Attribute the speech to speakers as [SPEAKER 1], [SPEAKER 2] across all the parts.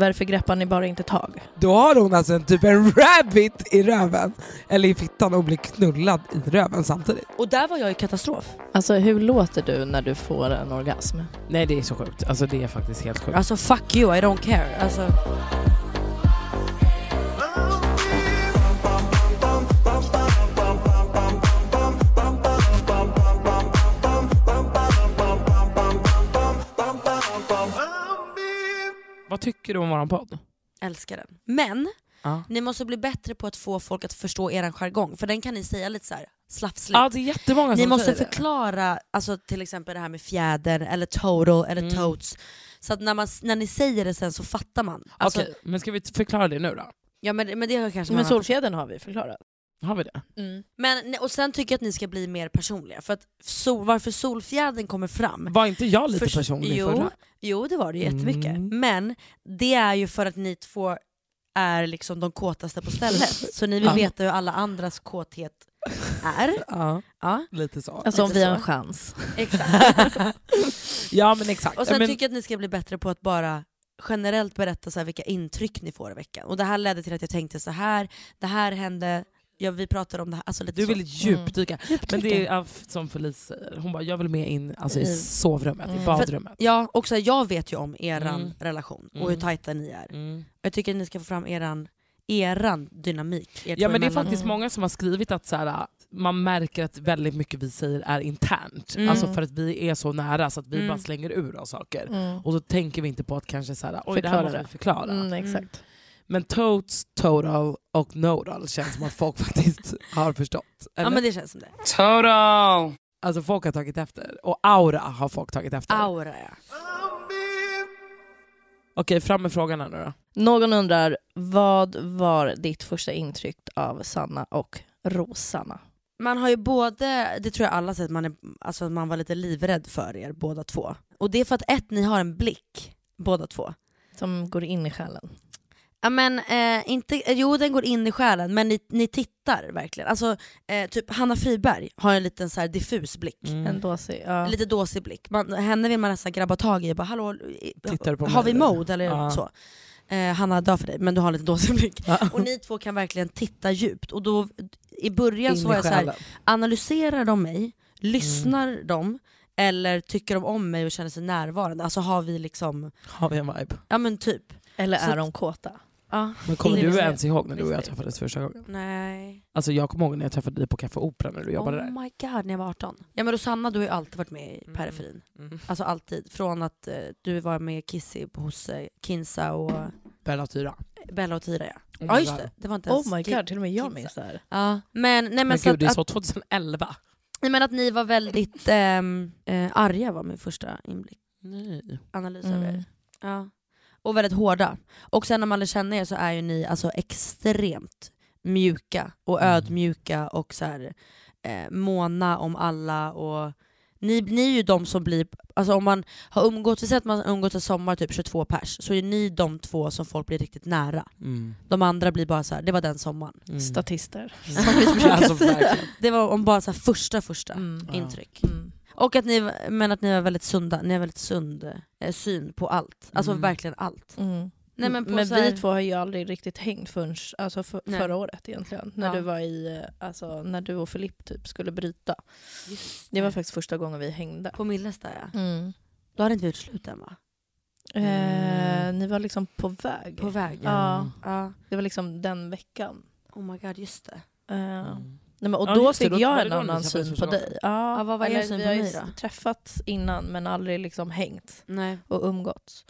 [SPEAKER 1] Varför greppar ni bara inte tag?
[SPEAKER 2] Då har hon alltså en, typ en rabbit i röven, eller i fittan och blir knullad i röven samtidigt.
[SPEAKER 1] Och där var jag i katastrof. Alltså hur låter du när du får en orgasm?
[SPEAKER 3] Nej det är så sjukt, alltså det är faktiskt helt sjukt.
[SPEAKER 1] Alltså fuck you, I don't care. Alltså...
[SPEAKER 3] Vad tycker du om våran podd?
[SPEAKER 4] Älskar den. Men
[SPEAKER 3] Ja.
[SPEAKER 4] ni måste bli bättre på att få folk att förstå er jargong, för den kan ni säga lite så här slafsligt.
[SPEAKER 3] Ja det är jättemånga som
[SPEAKER 4] ni måste
[SPEAKER 3] Alltså, säger det.
[SPEAKER 4] förklara alltså, till exempel det här med fjäder, eller total, eller
[SPEAKER 3] Mm.
[SPEAKER 4] totes. Så att när, man, när ni säger det sen så fattar man. Alltså,
[SPEAKER 3] Okej, men ska vi t- förklara det nu då?
[SPEAKER 4] ja, men, men det har kanske man
[SPEAKER 1] Men
[SPEAKER 4] har-
[SPEAKER 1] solfjädern har vi förklarat.
[SPEAKER 3] Har vi det?
[SPEAKER 1] Mm.
[SPEAKER 4] men, Och sen tycker jag att ni ska bli mer personliga, för att sol, varför solfjädern kommer fram
[SPEAKER 3] Var inte jag lite
[SPEAKER 4] Förs-
[SPEAKER 3] personlig
[SPEAKER 4] jo,
[SPEAKER 3] förra?
[SPEAKER 4] Jo det var det ju jättemycket.
[SPEAKER 3] Mm.
[SPEAKER 4] Men det är ju för att ni två är liksom de kåtaste på stället. Så ni vill
[SPEAKER 3] Ja.
[SPEAKER 4] veta hur alla andras kåthet är.
[SPEAKER 2] Ja,
[SPEAKER 4] Ja,
[SPEAKER 2] lite så.
[SPEAKER 1] Alltså om
[SPEAKER 4] Lite
[SPEAKER 1] vi har
[SPEAKER 4] så.
[SPEAKER 1] en chans.
[SPEAKER 4] exakt.
[SPEAKER 2] Ja men exakt.
[SPEAKER 4] Och sen
[SPEAKER 2] men,
[SPEAKER 4] tycker jag att ni ska bli bättre på att bara generellt berätta så här vilka intryck ni får i veckan. Och det här ledde till att jag tänkte så här, det här hände, ja, vi pratade om det här. Alltså lite
[SPEAKER 3] Du
[SPEAKER 4] så. Mm.
[SPEAKER 3] vill djupdyka. Men det är ja, f- som Felice säger, hon bara jag vill med in alltså, i
[SPEAKER 1] Mm.
[SPEAKER 3] sovrummet,
[SPEAKER 1] Mm.
[SPEAKER 3] i badrummet.
[SPEAKER 4] Ja, och så här, jag vet ju om eran
[SPEAKER 3] Mm.
[SPEAKER 4] relation och
[SPEAKER 3] Mm.
[SPEAKER 4] hur tajta ni är.
[SPEAKER 3] Mm.
[SPEAKER 4] Jag tycker att ni ska få fram eran, eran dynamik. er
[SPEAKER 3] Ja
[SPEAKER 4] två
[SPEAKER 3] men det är
[SPEAKER 4] emellan.
[SPEAKER 3] faktiskt
[SPEAKER 1] Mm.
[SPEAKER 3] många som har skrivit att så här, man märker att väldigt mycket vi säger är internt.
[SPEAKER 4] Mm.
[SPEAKER 3] Alltså för att vi är så nära så att vi
[SPEAKER 4] Mm.
[SPEAKER 3] bara slänger ur oss saker.
[SPEAKER 1] Mm.
[SPEAKER 3] Och så tänker vi inte på att kanske så här, oj det
[SPEAKER 1] Förklara
[SPEAKER 3] här måste vi
[SPEAKER 1] det.
[SPEAKER 3] förklara.
[SPEAKER 1] Mm, exakt.
[SPEAKER 3] Men totes, total och nodal känns som att folk faktiskt har förstått.
[SPEAKER 4] Ja
[SPEAKER 3] Eller?
[SPEAKER 4] men det känns som det.
[SPEAKER 3] Total! Alltså folk har tagit efter. Och aura har folk tagit efter.
[SPEAKER 4] Aura ja.
[SPEAKER 3] Okej, fram med frågan här nu då.
[SPEAKER 4] Mm.
[SPEAKER 1] Mm. Någon undrar, vad var ditt första intryck av Sanna och Rosanna?
[SPEAKER 4] Man har ju både, det tror jag alla sett, man, är, alltså att man var lite livrädd för er båda två. Och det är för att ett, ni har en blick båda två.
[SPEAKER 1] Som går in i själen.
[SPEAKER 4] Ja men eh, inte, eh, jo den går in i själen men ni, ni tittar verkligen. Alltså eh, typ Hanna Friberg har en liten så här diffus blick.
[SPEAKER 3] Mm,
[SPEAKER 1] En dåsig, ja.
[SPEAKER 4] En Lite dåsig blick. Man, henne vill man nästan grabba tag i och bara hallå, i-
[SPEAKER 3] Tittar du på
[SPEAKER 4] har
[SPEAKER 3] mig
[SPEAKER 4] vi
[SPEAKER 3] eller?
[SPEAKER 4] mode eller
[SPEAKER 3] Ja.
[SPEAKER 4] så? Eh, Hanna, dör för dig men du har en lite dåsig blick.
[SPEAKER 3] Ja.
[SPEAKER 4] Och ni två kan verkligen titta djupt och då i början
[SPEAKER 3] In
[SPEAKER 4] så
[SPEAKER 3] i
[SPEAKER 4] var jag så här,
[SPEAKER 3] själen. Mm.
[SPEAKER 4] analyserar de mig, lyssnar de eller tycker de om mig och känner sig närvarande? Alltså har vi liksom,
[SPEAKER 3] Har vi en vibe?
[SPEAKER 4] ja men typ.
[SPEAKER 1] Eller
[SPEAKER 4] Så-
[SPEAKER 1] är de kåta?
[SPEAKER 4] Ja.
[SPEAKER 3] Men kommer
[SPEAKER 4] Det
[SPEAKER 3] du
[SPEAKER 4] visste jag.
[SPEAKER 3] ens ihåg när du och jag
[SPEAKER 4] Visste jag.
[SPEAKER 3] träffades första gången?
[SPEAKER 4] Nej.
[SPEAKER 3] Alltså jag kommer ihåg när jag träffade dig på Café Opera när du jobbade
[SPEAKER 4] oh
[SPEAKER 3] där.
[SPEAKER 4] my god, när jag var 18. Ja men Rosanna du har ju alltid varit med i
[SPEAKER 3] Mm.
[SPEAKER 4] periferin.
[SPEAKER 3] Mm.
[SPEAKER 4] Alltså alltid. Från att eh, du var med Kissy hos eh, Kinsa och
[SPEAKER 3] Bella Tyra. Oh
[SPEAKER 4] Bella och Tyra ja.
[SPEAKER 3] my
[SPEAKER 4] ja just
[SPEAKER 3] God.
[SPEAKER 4] det, det var inte ens
[SPEAKER 1] Oh my
[SPEAKER 4] Ki-
[SPEAKER 1] god, till och med jag
[SPEAKER 4] Kinsa.
[SPEAKER 1] minns det här.
[SPEAKER 4] Ja. Men, nej, men,
[SPEAKER 3] Men
[SPEAKER 4] så
[SPEAKER 3] gud
[SPEAKER 4] att,
[SPEAKER 3] det är
[SPEAKER 4] att,
[SPEAKER 3] så 2011.
[SPEAKER 4] nej, men att ni var väldigt ehm, eh, arga var min första inblick,
[SPEAKER 3] Nej.
[SPEAKER 4] analys av er.
[SPEAKER 1] Mm.
[SPEAKER 4] Ja. Och väldigt hårda. Och sen när man lär känna er så är ju ni alltså extremt mjuka och
[SPEAKER 3] Mm.
[SPEAKER 4] ödmjuka och så här, eh, måna om alla. Och ni, ni är ju de som blir, alltså om man har umgåtts, vi säger att man har umgåtts i sommar typ 22 pers, så är ni de två som folk blir riktigt nära.
[SPEAKER 3] Mm.
[SPEAKER 4] De andra blir bara så här, det var den sommaren.
[SPEAKER 3] Mm.
[SPEAKER 1] Statister.
[SPEAKER 4] Som vi brukar
[SPEAKER 3] Alltså,
[SPEAKER 4] säga.
[SPEAKER 3] verkligen.
[SPEAKER 4] Det var om bara så här första första
[SPEAKER 1] Mm.
[SPEAKER 3] Ja.
[SPEAKER 4] intryck.
[SPEAKER 1] Mm.
[SPEAKER 4] Och att ni, men att ni var väldigt sunda, ni har väldigt sund eh, syn på allt. Alltså
[SPEAKER 3] Mm.
[SPEAKER 4] verkligen allt.
[SPEAKER 1] Mm.
[SPEAKER 4] Nej, men på så här-
[SPEAKER 1] vi två har ju aldrig riktigt hängt förrän alltså för,
[SPEAKER 4] Nej.
[SPEAKER 1] förra året egentligen. När,
[SPEAKER 4] Ja.
[SPEAKER 1] du var i, eh, alltså, när du och Filipp typ skulle bryta. Det var faktiskt första gången vi hängde.
[SPEAKER 4] På Milles där ja.
[SPEAKER 1] Mm.
[SPEAKER 4] Då hade inte vi gjort slut än va?
[SPEAKER 1] Eh, ni var liksom på väg.
[SPEAKER 4] Mm. På väg.
[SPEAKER 1] Ja,
[SPEAKER 4] Ja.
[SPEAKER 1] det var liksom den veckan.
[SPEAKER 4] Oh my god, just det.
[SPEAKER 1] Eh,
[SPEAKER 4] Mm.
[SPEAKER 3] Mm.
[SPEAKER 1] nej, men, och
[SPEAKER 3] Ja,
[SPEAKER 1] då
[SPEAKER 3] just det,
[SPEAKER 1] fick
[SPEAKER 3] då var
[SPEAKER 1] jag
[SPEAKER 3] det
[SPEAKER 1] en
[SPEAKER 3] då ni
[SPEAKER 1] annan
[SPEAKER 3] träffades
[SPEAKER 1] syn på
[SPEAKER 3] första
[SPEAKER 1] dig. Ja,
[SPEAKER 4] Ja, vad var er
[SPEAKER 1] eller
[SPEAKER 4] syn
[SPEAKER 1] vi
[SPEAKER 4] på
[SPEAKER 1] har ju
[SPEAKER 4] mig då?
[SPEAKER 1] träffats innan men aldrig liksom hängt
[SPEAKER 4] Nej.
[SPEAKER 1] och umgåtts.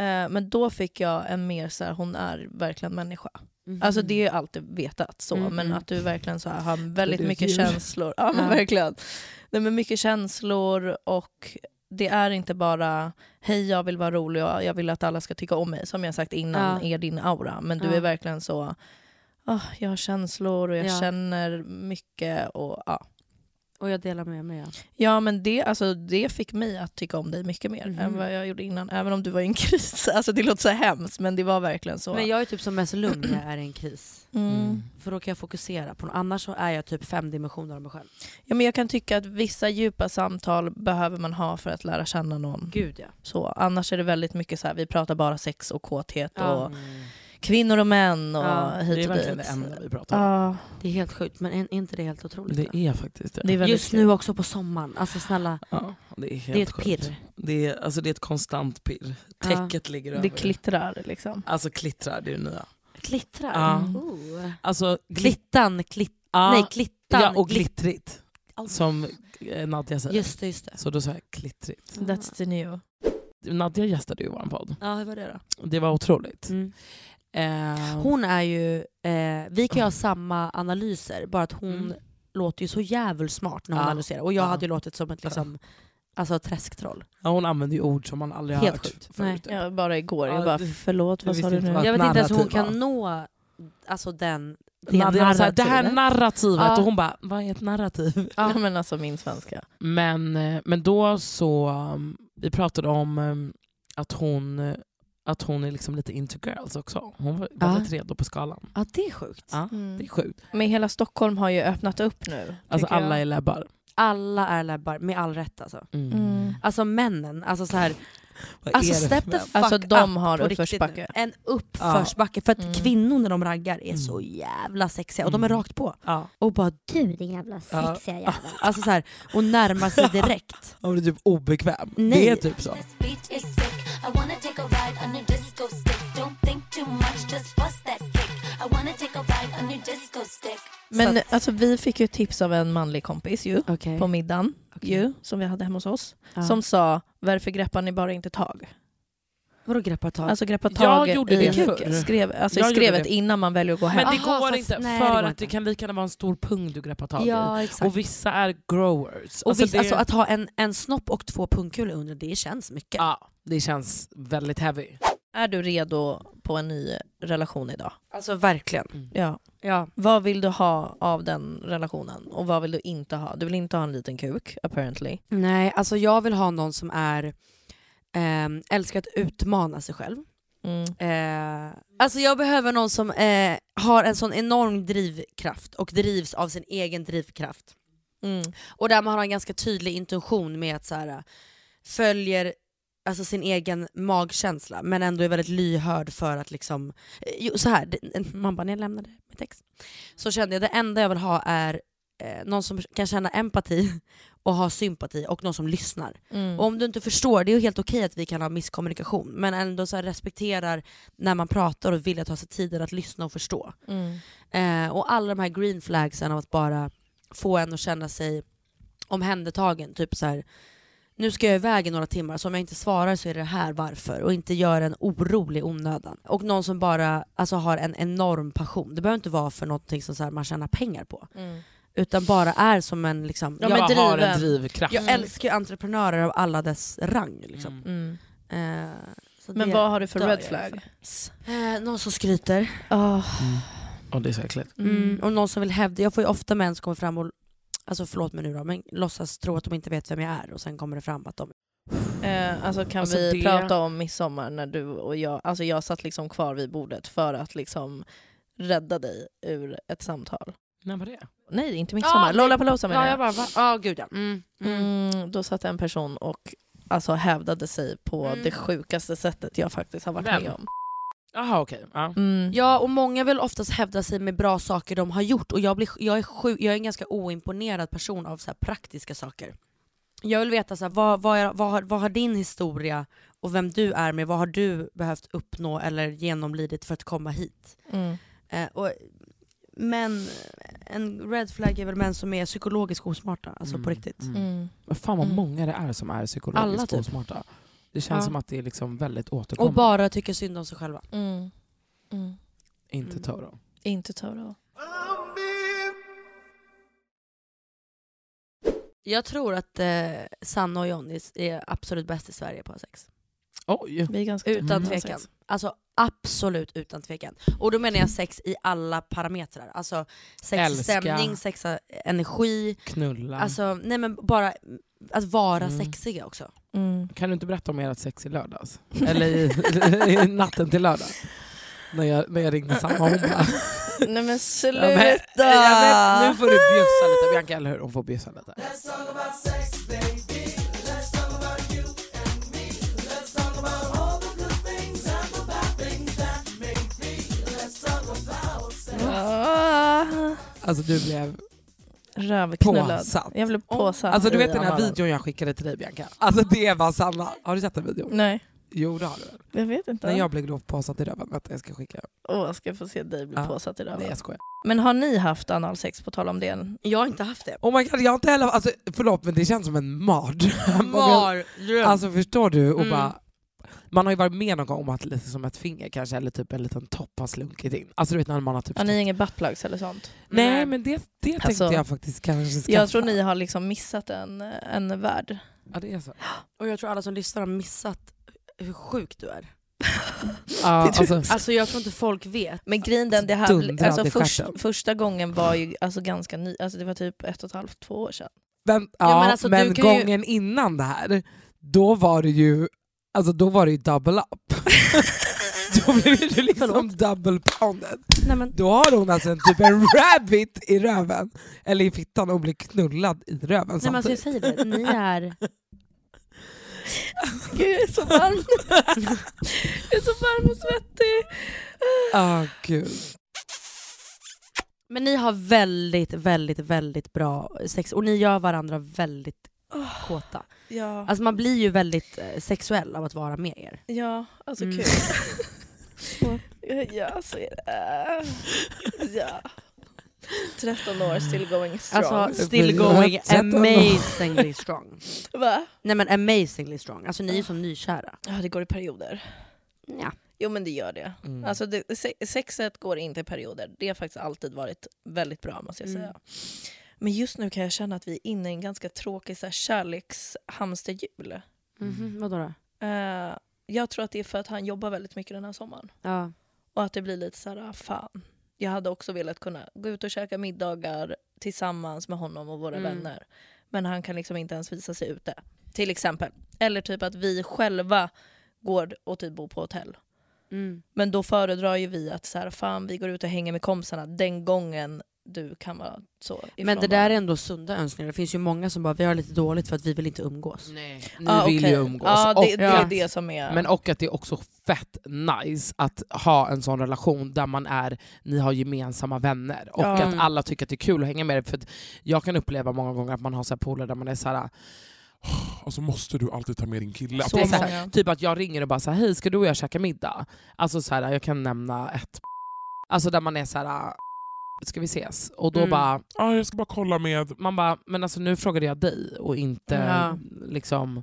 [SPEAKER 1] Eh, men då fick jag en mer så här, hon är verkligen människa.
[SPEAKER 4] Mhm.
[SPEAKER 1] Alltså det är ju alltid vetat så,
[SPEAKER 4] Mm,
[SPEAKER 1] men
[SPEAKER 4] mm.
[SPEAKER 1] att du verkligen så här, har väldigt
[SPEAKER 3] du är
[SPEAKER 1] mycket
[SPEAKER 3] djur.
[SPEAKER 1] känslor. Ja, men
[SPEAKER 4] Ja.
[SPEAKER 1] verkligen. Nej, men mycket känslor och det är inte bara hej jag vill vara rolig och jag vill att alla ska tycka om mig, som jag sagt innan
[SPEAKER 4] Ja.
[SPEAKER 1] är din aura. Men du
[SPEAKER 4] Ja.
[SPEAKER 1] är verkligen så, "Ah, jag har känslor och jag
[SPEAKER 4] Ja.
[SPEAKER 1] känner mycket. Och, ja.
[SPEAKER 4] Och jag delar med mig. Ja.
[SPEAKER 1] ja men det, alltså, det fick mig att tycka om dig mycket mer
[SPEAKER 4] Mhm.
[SPEAKER 1] än vad jag gjorde innan. Även om du var i en kris. Alltså, det låter så hemskt men det var verkligen så.
[SPEAKER 4] Men jag är typ som mest lugn när jag är i en kris.
[SPEAKER 1] mm.
[SPEAKER 4] För då kan jag fokusera på något. Annars så är jag typ fem dimensioner av mig själv.
[SPEAKER 1] Ja, men jag kan tycka att vissa djupa samtal behöver man ha för att lära känna någon.
[SPEAKER 4] Gud ja.
[SPEAKER 1] Så, annars är det väldigt mycket så här, vi pratar bara sex och kåthet
[SPEAKER 4] Ja.
[SPEAKER 1] och kvinnor och män och
[SPEAKER 4] Ja,
[SPEAKER 3] Det
[SPEAKER 1] hit
[SPEAKER 3] är
[SPEAKER 1] och
[SPEAKER 3] verkligen
[SPEAKER 1] dit.
[SPEAKER 3] det enda vi pratar om.
[SPEAKER 1] Ja,
[SPEAKER 4] Det är helt sjukt men är är inte det helt otroligt?
[SPEAKER 3] Det är faktiskt det.
[SPEAKER 1] det är väldigt
[SPEAKER 4] Just nu också på sommaren. Alltså snälla,
[SPEAKER 3] Ja, det är, helt
[SPEAKER 4] det är ett
[SPEAKER 3] sjukt.
[SPEAKER 4] pirr.
[SPEAKER 3] Det är, alltså, det är ett konstant pirr.
[SPEAKER 4] Ja.
[SPEAKER 3] Täcket ligger
[SPEAKER 1] kul.
[SPEAKER 3] över.
[SPEAKER 1] Det klittrar liksom.
[SPEAKER 3] Alltså klittrar, det är det nya.
[SPEAKER 4] Glittrar.
[SPEAKER 3] Ja.
[SPEAKER 4] Oh.
[SPEAKER 3] Alltså, glit-
[SPEAKER 4] Klittan, klitt,
[SPEAKER 3] ja,
[SPEAKER 4] nej klittan.
[SPEAKER 3] ja, och
[SPEAKER 4] glitt-
[SPEAKER 3] glittrigt. Som eh, Nadja säger.
[SPEAKER 4] Just det, just det.
[SPEAKER 3] Så då sa jag klittrigt.
[SPEAKER 1] That's the new.
[SPEAKER 3] Nadja gästade ju vår podd.
[SPEAKER 4] Ja, hur var det då?
[SPEAKER 3] Det var otroligt.
[SPEAKER 4] Mm.
[SPEAKER 3] Eh,
[SPEAKER 4] Hon är ju, eh, vi kan ju ha samma analyser, bara att hon
[SPEAKER 3] Mm.
[SPEAKER 4] låter ju så jävligt smart när hon
[SPEAKER 3] Ja.
[SPEAKER 4] analyserar. Och jag
[SPEAKER 3] Ja.
[SPEAKER 4] hade ju låtit som ett liksom, alltså, ett träsktroll.
[SPEAKER 3] ja, hon använder ju ord som man aldrig har
[SPEAKER 4] Helt
[SPEAKER 3] hört
[SPEAKER 4] sjukt.
[SPEAKER 3] förut.
[SPEAKER 4] Nej.
[SPEAKER 1] Ja, bara igår,
[SPEAKER 3] Ja,
[SPEAKER 1] jag bara
[SPEAKER 3] det-
[SPEAKER 1] förlåt
[SPEAKER 3] jag
[SPEAKER 1] vad sa
[SPEAKER 3] visste
[SPEAKER 1] du
[SPEAKER 3] inte
[SPEAKER 1] nu?
[SPEAKER 3] vad-
[SPEAKER 4] Jag vet inte ens hur hon
[SPEAKER 3] narrativ,
[SPEAKER 4] kan nå alltså, den, det
[SPEAKER 3] Nadja var såhär,
[SPEAKER 4] narrativet.
[SPEAKER 3] det här narrativet.
[SPEAKER 4] Ja.
[SPEAKER 3] Och hon bara, vad är ett narrativ?
[SPEAKER 1] Ja, men alltså min svenska.
[SPEAKER 3] Men, eh, men då så, um, vi pratade om um, att hon, eh, att hon är liksom lite into girls också. Hon var
[SPEAKER 4] Ah.
[SPEAKER 3] väldigt redo på skalan.
[SPEAKER 4] ja, det är sjukt.
[SPEAKER 3] Ja,
[SPEAKER 1] Mm.
[SPEAKER 3] Det är sjukt.
[SPEAKER 1] Men hela Stockholm har ju öppnat upp nu.
[SPEAKER 3] Alltså
[SPEAKER 1] tycker jag.
[SPEAKER 3] alla är läbbar.
[SPEAKER 4] Alla är labbar, med all rätt alltså.
[SPEAKER 1] Mm.
[SPEAKER 4] Alltså männen, alltså så här,
[SPEAKER 3] Vad
[SPEAKER 4] alltså
[SPEAKER 3] är det för
[SPEAKER 4] step the
[SPEAKER 3] män?
[SPEAKER 4] fuck
[SPEAKER 1] Alltså de
[SPEAKER 4] up
[SPEAKER 1] har
[SPEAKER 4] på riktigt
[SPEAKER 1] uppförsbacke.
[SPEAKER 4] nu. En uppförsbacke, för att
[SPEAKER 1] Mm.
[SPEAKER 4] kvinnor när de raggar är
[SPEAKER 3] Mm.
[SPEAKER 4] så jävla sexiga och de är
[SPEAKER 3] Mm.
[SPEAKER 4] rakt på.
[SPEAKER 3] Ja.
[SPEAKER 4] Och bara
[SPEAKER 5] Du din jävla
[SPEAKER 3] Ja. Ah.
[SPEAKER 5] sexiga jävel.
[SPEAKER 4] alltså så här, och närmar sig direkt.
[SPEAKER 3] Hon är typ obekväm.
[SPEAKER 4] Nej.
[SPEAKER 3] Det är typ så.
[SPEAKER 6] This beach is sick. I wanna take a ride on your disco stick. Don't think too much, just bust that kick. I wanna take a ride on your disco stick.
[SPEAKER 1] Men alltså, vi fick ju tips av en manlig kompis ju,
[SPEAKER 4] Okej.
[SPEAKER 1] på middagen
[SPEAKER 4] Okej.
[SPEAKER 1] ju, som vi hade hemma hos oss.
[SPEAKER 4] Ja.
[SPEAKER 1] som sa varför greppar ni bara inte tag?
[SPEAKER 4] Vadå greppa tag?
[SPEAKER 1] Alltså greppa
[SPEAKER 3] Jag
[SPEAKER 1] tag
[SPEAKER 3] gjorde
[SPEAKER 1] i
[SPEAKER 3] det förr.
[SPEAKER 1] skrev, alltså i
[SPEAKER 3] Jag gjorde
[SPEAKER 1] skrevet
[SPEAKER 3] det.
[SPEAKER 1] innan man väljer att gå hem.
[SPEAKER 3] Men det
[SPEAKER 4] Aha,
[SPEAKER 3] går
[SPEAKER 4] fast
[SPEAKER 3] inte
[SPEAKER 4] nej, det
[SPEAKER 3] för
[SPEAKER 4] går
[SPEAKER 3] att
[SPEAKER 4] inte.
[SPEAKER 3] det kan lika gärna vara en stor pung du greppar tag i.
[SPEAKER 4] ja exakt.
[SPEAKER 3] Och vissa är growers.
[SPEAKER 4] Och visst,
[SPEAKER 3] det,
[SPEAKER 4] alltså, att ha en, en snopp och två pungkulor under, det känns mycket.
[SPEAKER 3] ja, det känns väldigt heavy.
[SPEAKER 1] Är du redo på en ny relation idag?
[SPEAKER 4] Alltså verkligen.
[SPEAKER 1] Ja.
[SPEAKER 4] Ja.
[SPEAKER 1] Vad vill du ha av den relationen och vad vill du inte ha? Du vill inte ha en liten kuk apparently.
[SPEAKER 4] Nej, alltså jag vill ha någon som är, ehm, älskar att utmana sig själv.
[SPEAKER 1] Mm.
[SPEAKER 4] Eh, alltså jag behöver någon som eh, har en sån enorm drivkraft och drivs av sin egen drivkraft.
[SPEAKER 1] Mm.
[SPEAKER 4] Och där man har en ganska tydlig intention med att så här, äh, följer alltså sin egen magkänsla men ändå är väldigt lyhörd för att liksom... eh, Jo, så här, det- man bara när jag lämnade mitt ex så kände jag det enda jag vill ha är eh, någon som kan känna empati och ha sympati och någon som lyssnar.
[SPEAKER 1] Mm.
[SPEAKER 4] Och om du inte förstår, det är ju helt okej att vi kan ha misskommunikation men ändå så här respekterar när man pratar och vill ta sig tiden att lyssna och förstå.
[SPEAKER 1] Mm.
[SPEAKER 4] Eh, och alla de här green flagsen av att bara få en att känna sig omhändertagen. Typ så här, nu ska jag iväg i några timmar så om jag inte svarar så är det här varför och inte gör en orolig onödan. Och någon som bara alltså, har en enorm passion. Det behöver inte vara för någonting som så här, man tjänar pengar på
[SPEAKER 1] Mm.
[SPEAKER 4] utan bara är som en liksom,
[SPEAKER 1] Ja,
[SPEAKER 4] jag,
[SPEAKER 1] men
[SPEAKER 3] jag har en
[SPEAKER 1] driven.
[SPEAKER 3] drivkraft.
[SPEAKER 4] jag älskar ju entreprenörer av alla dess rang. Liksom.
[SPEAKER 3] Mm.
[SPEAKER 1] Mm.
[SPEAKER 4] Eh, så
[SPEAKER 1] Men
[SPEAKER 4] det
[SPEAKER 1] vad har du för
[SPEAKER 4] dör
[SPEAKER 1] red
[SPEAKER 4] jag
[SPEAKER 1] flag?
[SPEAKER 4] för. Eh, någon som skryter
[SPEAKER 1] Oh.
[SPEAKER 3] Och det är så äckligt.
[SPEAKER 4] mm. och någon som vill hävda. Jag får ju ofta män som kommer fram och Alltså förlåt mig nu då, men låtsas tro att de inte vet vem jag är och sen kommer det fram att de...
[SPEAKER 1] Eh, alltså kan
[SPEAKER 3] Alltså,
[SPEAKER 1] vi
[SPEAKER 3] det-
[SPEAKER 1] prata om midsommar när du och jag, alltså jag satt liksom kvar vid bordet för att liksom rädda dig ur ett samtal.
[SPEAKER 3] När var det?
[SPEAKER 1] Nej, inte midsommar. Lollapalooza menar jag.
[SPEAKER 4] bara va? Ja, gud ja. Mm, mm.
[SPEAKER 1] Mm, då satt en person och alltså, hävdade sig på
[SPEAKER 4] Mm.
[SPEAKER 1] det sjukaste sättet jag faktiskt har varit
[SPEAKER 3] Vem?
[SPEAKER 1] med om.
[SPEAKER 3] Jaha okej. Ja.
[SPEAKER 1] Mm.
[SPEAKER 4] Ja, och många vill oftast hävda sig med bra saker de har gjort och jag, blir, jag, är, sjuk, jag är en ganska oimponerad person av så här praktiska saker. Jag vill veta så här, vad, vad, är, vad, har, vad har din historia och vem du är med, vad har du behövt uppnå eller genomlidit för att komma hit?
[SPEAKER 1] Mm.
[SPEAKER 4] Eh, och män, en red flag är väl män som är psykologiskt osmarta, alltså på
[SPEAKER 3] Mm,
[SPEAKER 4] riktigt.
[SPEAKER 3] mm.
[SPEAKER 1] Mm.
[SPEAKER 3] Men fan vad
[SPEAKER 1] Mm.
[SPEAKER 3] många det är som är psykologiskt
[SPEAKER 4] Alla typ.
[SPEAKER 3] osmarta. Det känns
[SPEAKER 4] Ja.
[SPEAKER 3] som att det är liksom väldigt återkommande.
[SPEAKER 4] Och bara tycker synd om sig själva.
[SPEAKER 1] Mm. Mm.
[SPEAKER 3] Inte
[SPEAKER 4] Mm.
[SPEAKER 3] Toro.
[SPEAKER 1] Inte Toro.
[SPEAKER 4] Jag tror att eh, Sanna och Johnny är absolut bäst i Sverige på sex.
[SPEAKER 3] Oj!
[SPEAKER 1] Vi är ganska
[SPEAKER 4] Utan
[SPEAKER 1] trötta på
[SPEAKER 4] tvekan.
[SPEAKER 1] sex.
[SPEAKER 4] Alltså absolut utan tvekan. Och då menar jag sex i alla parametrar. Alltså sex i
[SPEAKER 3] Älska.
[SPEAKER 4] stämning, sex i energi,
[SPEAKER 3] Knulla.
[SPEAKER 4] alltså nej men bara att vara
[SPEAKER 3] Mm.
[SPEAKER 4] sexiga också.
[SPEAKER 1] Mm.
[SPEAKER 3] Kan du inte berätta om ert sex i lördags? Eller i, i natten till lördag? När jag, när jag ringde Sanna och hon bara...
[SPEAKER 1] Nej men
[SPEAKER 3] Ja,
[SPEAKER 1] sluta!
[SPEAKER 3] men- ja, men Nu får du bjussa lite Bianca, eller hur? Hon får bjussa lite.
[SPEAKER 1] Ah.
[SPEAKER 2] Alltså du blev...
[SPEAKER 1] Rövknullad.
[SPEAKER 2] Påsatt.
[SPEAKER 1] Jag blev påsatt.
[SPEAKER 2] Alltså du
[SPEAKER 1] i
[SPEAKER 2] vet den här
[SPEAKER 1] analen.
[SPEAKER 2] videon jag skickade till dig Bianca? Alltså det var Sanna. Har du sett den videon?
[SPEAKER 1] Nej,
[SPEAKER 2] Jo det har du väl?
[SPEAKER 1] jag vet inte.
[SPEAKER 2] När jag blev grovt påsatt i röven. Vänta jag ska skicka.
[SPEAKER 1] Åh, ska jag få se dig bli
[SPEAKER 2] Ja.
[SPEAKER 1] påsatt idag? va?
[SPEAKER 2] Nej jag skojar.
[SPEAKER 1] Men har ni haft analsex på tal om det?
[SPEAKER 4] Jag har inte haft det.
[SPEAKER 2] Oh my god jag har inte heller, alltså, förlåt men det känns som en mardröm. Om jag- Alltså förstår du? Och
[SPEAKER 4] Mm.
[SPEAKER 2] bara, man har ju varit med någon gång om att liksom som ett finger kanske eller typ en liten topp har slunkit in. Alltså du vet när man har typ...
[SPEAKER 1] Har ni inga buttplugs eller sånt?
[SPEAKER 2] Nej men det, det
[SPEAKER 1] Alltså,
[SPEAKER 2] tänkte jag faktiskt kanske skaffa.
[SPEAKER 1] Jag tror ni har liksom missat en, en värld.
[SPEAKER 2] Ja det är så.
[SPEAKER 4] Och jag tror alla som lyssnar har missat hur sjuk du är.
[SPEAKER 2] Ja, alltså,
[SPEAKER 4] Alltså jag tror inte folk vet.
[SPEAKER 1] Men grejen den, det här,
[SPEAKER 2] Dundrade
[SPEAKER 1] alltså
[SPEAKER 2] i
[SPEAKER 1] först,
[SPEAKER 2] stjärten.
[SPEAKER 1] första gången var ju alltså ganska ny, alltså det var typ ett och ett halvt, två år sedan.
[SPEAKER 2] men, ja,
[SPEAKER 4] men
[SPEAKER 2] men,
[SPEAKER 4] alltså, du kan ju-
[SPEAKER 2] gången innan det här, då var det ju Alltså då var det ju double up. då blev det liksom double pounded.
[SPEAKER 4] Nej, men,
[SPEAKER 2] Då har hon alltså en typ en rabbit i röven, eller i fittan och blir knullad i röven
[SPEAKER 4] nej men alltså jag
[SPEAKER 2] samtidigt.
[SPEAKER 4] säger det, ni är...
[SPEAKER 1] Gud jag är så varm! jag är så varm och svettig!
[SPEAKER 2] Ah, gud.
[SPEAKER 4] Men ni har väldigt, väldigt, väldigt bra sex och ni gör varandra väldigt kåta.
[SPEAKER 1] Ja,
[SPEAKER 4] Alltså man blir ju väldigt eh, sexuell av att vara med er.
[SPEAKER 1] ja alltså
[SPEAKER 4] Mm.
[SPEAKER 1] kul. ja, så är det. Ja. 13 år still going strong.
[SPEAKER 4] Alltså still going
[SPEAKER 2] Tretton år.
[SPEAKER 4] amazingly strong.
[SPEAKER 1] Va?
[SPEAKER 4] Nej men amazingly strong, alltså ni är ju som nykära.
[SPEAKER 1] Ja, det går i perioder.
[SPEAKER 4] Ja.
[SPEAKER 1] Jo men det gör det.
[SPEAKER 2] Mm.
[SPEAKER 1] Alltså det, se- sexet går inte i perioder. Det har faktiskt alltid varit väldigt bra måste jag
[SPEAKER 4] Mm.
[SPEAKER 1] säga. Men just nu kan jag känna att vi är inne i en ganska tråkig så här, kärlekshamsterhjul. Mm.
[SPEAKER 4] Mhm, vadå då?
[SPEAKER 1] Eh, jag tror att det är för att han jobbar väldigt mycket den här sommaren.
[SPEAKER 4] Ja.
[SPEAKER 1] Och att det blir lite så här, ah, fan. Jag hade också velat kunna gå ut och käka middagar tillsammans med honom och våra
[SPEAKER 4] Mm.
[SPEAKER 1] vänner. Men han kan liksom inte ens visa sig ute. Till exempel. Eller typ att vi själva går och typ bor på hotell.
[SPEAKER 4] Mm.
[SPEAKER 1] Men då föredrar ju vi att så här, fan vi går ut och hänger med kompisarna den gången du kan vara så ifrån
[SPEAKER 4] Men det där är
[SPEAKER 1] varandra.
[SPEAKER 4] ändå sunda önskningar, det finns ju många som bara vi har lite dåligt för att vi vill inte umgås.
[SPEAKER 3] Nej, ni
[SPEAKER 1] Ja,
[SPEAKER 3] vill
[SPEAKER 1] Ah, okej.
[SPEAKER 3] ju umgås.
[SPEAKER 1] Ja, det,
[SPEAKER 3] och,
[SPEAKER 1] det
[SPEAKER 4] Ja.
[SPEAKER 1] är det som är...
[SPEAKER 3] Men och att det är också fett nice att ha en sån relation där man är, ni har gemensamma vänner och
[SPEAKER 1] Ja.
[SPEAKER 3] att alla tycker att det är kul att hänga med er. För att jag kan uppleva många gånger att man har så här polare där man är så här.
[SPEAKER 5] Alltså måste du alltid ta med din kille?
[SPEAKER 1] så
[SPEAKER 3] det är så här-
[SPEAKER 1] många.
[SPEAKER 3] Typ att jag ringer och bara så här, hej ska du och jag käka middag? Alltså så här, jag kan nämna ett Alltså där man är så här. ska vi ses? Och då
[SPEAKER 4] Mm.
[SPEAKER 3] bara,
[SPEAKER 5] Ja, "Ah, jag ska bara kolla med...
[SPEAKER 3] man bara, men alltså nu frågade jag dig och inte
[SPEAKER 4] Ja.
[SPEAKER 3] liksom...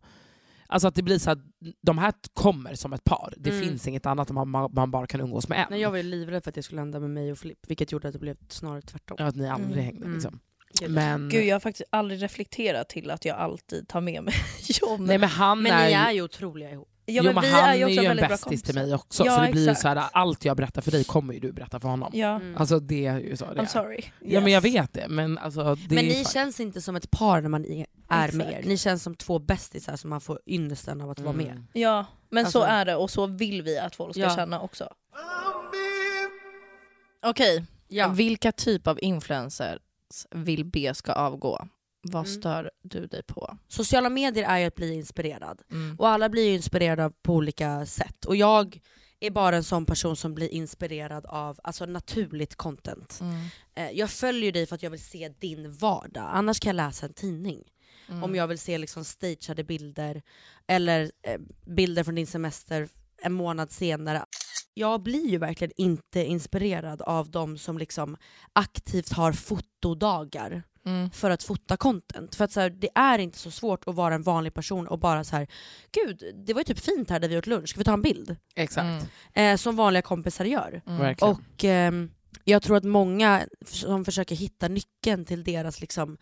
[SPEAKER 3] Alltså att det blir så att de här kommer som ett par. Det
[SPEAKER 4] Mm.
[SPEAKER 3] finns inget annat man, man man bara kan umgås med en.
[SPEAKER 4] Nej, jag var ju livrädd för att det skulle hända med mig och Flipp, vilket gjorde att det blev snarare tvärtom.
[SPEAKER 3] Ja, att ni aldrig
[SPEAKER 1] Mm.
[SPEAKER 3] hängde
[SPEAKER 4] Mm.
[SPEAKER 3] liksom.
[SPEAKER 4] Gud.
[SPEAKER 3] Men,
[SPEAKER 1] Gud jag har faktiskt aldrig reflekterat till att jag alltid tar med mig John.
[SPEAKER 3] nej, men han
[SPEAKER 4] Men ni
[SPEAKER 3] är,
[SPEAKER 4] är ju otroliga ihop.
[SPEAKER 1] ja,
[SPEAKER 3] jo, men han är ju
[SPEAKER 1] också
[SPEAKER 3] en
[SPEAKER 1] väldigt bra
[SPEAKER 3] bästis till
[SPEAKER 1] kompisar.
[SPEAKER 3] mig också.
[SPEAKER 1] Ja,
[SPEAKER 3] så det blir ju
[SPEAKER 1] exakt.
[SPEAKER 3] så här, allt jag berättar för dig kommer ju du berätta för honom.
[SPEAKER 1] Ja,
[SPEAKER 4] Mm.
[SPEAKER 3] Alltså det är ju så det
[SPEAKER 1] I'm
[SPEAKER 3] är.
[SPEAKER 1] sorry.
[SPEAKER 3] Ja men jag vet det. Men, alltså, det
[SPEAKER 4] men
[SPEAKER 3] är
[SPEAKER 4] ni
[SPEAKER 3] ju fan-
[SPEAKER 4] känns inte som ett par när man i- är med er.
[SPEAKER 1] Exakt.
[SPEAKER 4] Ni känns som två bästisar som man får ynnesten av att vara med.
[SPEAKER 3] Mm.
[SPEAKER 1] Ja, men
[SPEAKER 4] Alltså-
[SPEAKER 1] så är det och så vill vi att folk ska
[SPEAKER 4] Ja.
[SPEAKER 1] känna också. Okej, vilka typ av influencers vill B ska avgå? Vad
[SPEAKER 4] Mm.
[SPEAKER 1] stör du dig på?
[SPEAKER 4] Sociala medier är ju att bli inspirerad.
[SPEAKER 1] Mm.
[SPEAKER 4] Och alla blir ju inspirerade av- på olika sätt. Och jag är bara en sån person som blir inspirerad av alltså, naturligt content.
[SPEAKER 1] Mm.
[SPEAKER 4] Eh, jag följer dig för att jag vill se din vardag, annars kan jag läsa en tidning. om jag vill se liksom stageade bilder eller eh, bilder från din semester en månad senare. Jag blir ju verkligen inte inspirerad av de som liksom aktivt har fotodagar
[SPEAKER 1] Mm.
[SPEAKER 4] för att fota content. För att så här, det är inte så svårt att vara en vanlig person och bara så här, gud det var ju typ fint här där vi åt lunch, ska vi ta en bild?
[SPEAKER 3] Exakt.
[SPEAKER 4] Eh, som vanliga kompisar gör.
[SPEAKER 1] Mm.
[SPEAKER 3] Verkligen.
[SPEAKER 4] Och ehm, jag tror att många f- som försöker hitta nyckeln till deras liksom,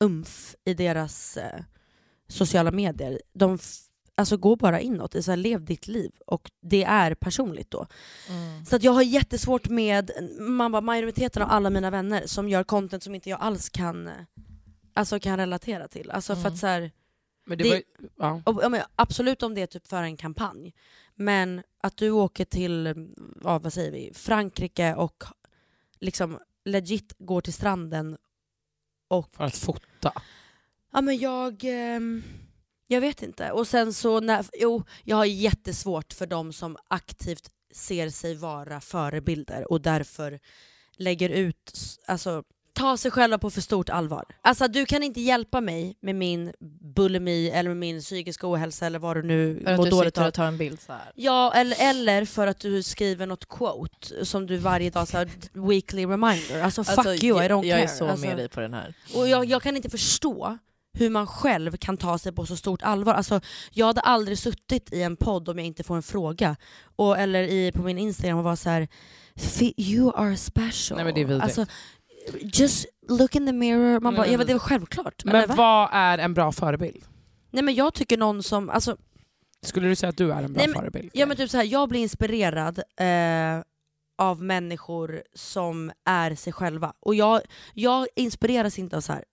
[SPEAKER 4] umf i deras eh, sociala medier, de f- alltså, går bara inåt. Det är Så här, lev ditt liv och det är personligt då.
[SPEAKER 1] Mm.
[SPEAKER 4] Så att jag har jättesvårt med man bara, majoriteten av alla mina vänner som gör content som inte jag alls kan, eh, alltså, kan relatera till. Alltså, för
[SPEAKER 3] Mm.
[SPEAKER 4] att, så här,
[SPEAKER 3] Men det,
[SPEAKER 4] det-
[SPEAKER 3] var ju, ja.
[SPEAKER 4] och, ja, men absolut om det är typ för en kampanj. Men att du åker till ja, vad säger vi, Frankrike och liksom legit går till stranden och...
[SPEAKER 3] För att fota.
[SPEAKER 4] Ja men jag... ehm, jag vet inte. Och sen så... När, jo, jag har jättesvårt för de som aktivt ser sig vara förebilder och därför lägger ut... s- Alltså, ta sig själva på för stort allvar. Alltså du kan inte hjälpa mig med min bulimi eller med min psykiska ohälsa eller vad du nu
[SPEAKER 1] För att
[SPEAKER 4] mår
[SPEAKER 1] du
[SPEAKER 4] dåligt
[SPEAKER 1] sitter
[SPEAKER 4] av.
[SPEAKER 1] och tar en bild så här.
[SPEAKER 4] Ja, eller, eller för att du skriver något quote som du varje dag så här, weekly reminder. Alltså, fuck you, I don't
[SPEAKER 1] jag,
[SPEAKER 4] care.
[SPEAKER 1] jag är så
[SPEAKER 4] alltså,
[SPEAKER 1] med dig på den här.
[SPEAKER 4] och jag, jag kan inte förstå hur man själv kan ta sig på så stort allvar. Alltså, jag hade aldrig suttit i en podd om jag inte får en fråga. Och, eller i, på min Instagram och var så här "Fi- you are special.
[SPEAKER 3] Nej, men det är vidrigt.
[SPEAKER 4] alltså, just look in the mirror. Man
[SPEAKER 3] Nej,
[SPEAKER 4] bara,
[SPEAKER 3] men
[SPEAKER 4] ja, men det är väl självklart. eller,
[SPEAKER 3] Men
[SPEAKER 4] va?
[SPEAKER 3] vad är en bra förebild?
[SPEAKER 4] Nej men jag tycker någon som, alltså,
[SPEAKER 3] Skulle du säga att du är en bra
[SPEAKER 4] Nej, men-
[SPEAKER 3] förebild?
[SPEAKER 4] Ja men typ så här, jag blir inspirerad eh, av människor som är sig själva. Och jag, jag inspireras inte av så här,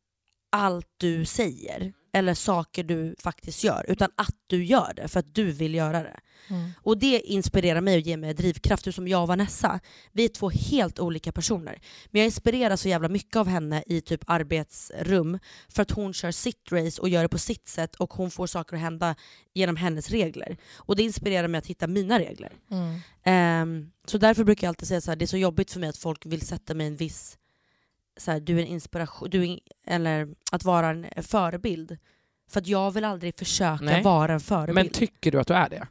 [SPEAKER 4] allt du säger eller saker du faktiskt gör, utan att du gör det för att du vill göra det.
[SPEAKER 1] Mm.
[SPEAKER 4] Och det inspirerar mig och ger mig drivkraft. Du som jag och Vanessa, vi är två helt olika personer. Men jag inspireras så jävla mycket av henne i typ arbetsrum för att hon kör sitt race och gör det på sitt sätt och hon får saker att hända genom hennes regler. Och det inspirerar mig att hitta mina regler.
[SPEAKER 1] Mm.
[SPEAKER 4] Ehm, så därför brukar jag alltid säga så här, det är så jobbigt för mig att folk vill sätta mig i en viss, så här, du är en inspiration, du är, in- eller att vara en förebild. För att jag vill aldrig försöka
[SPEAKER 3] Nej.
[SPEAKER 4] vara en förebild.
[SPEAKER 3] men tycker du att du är det?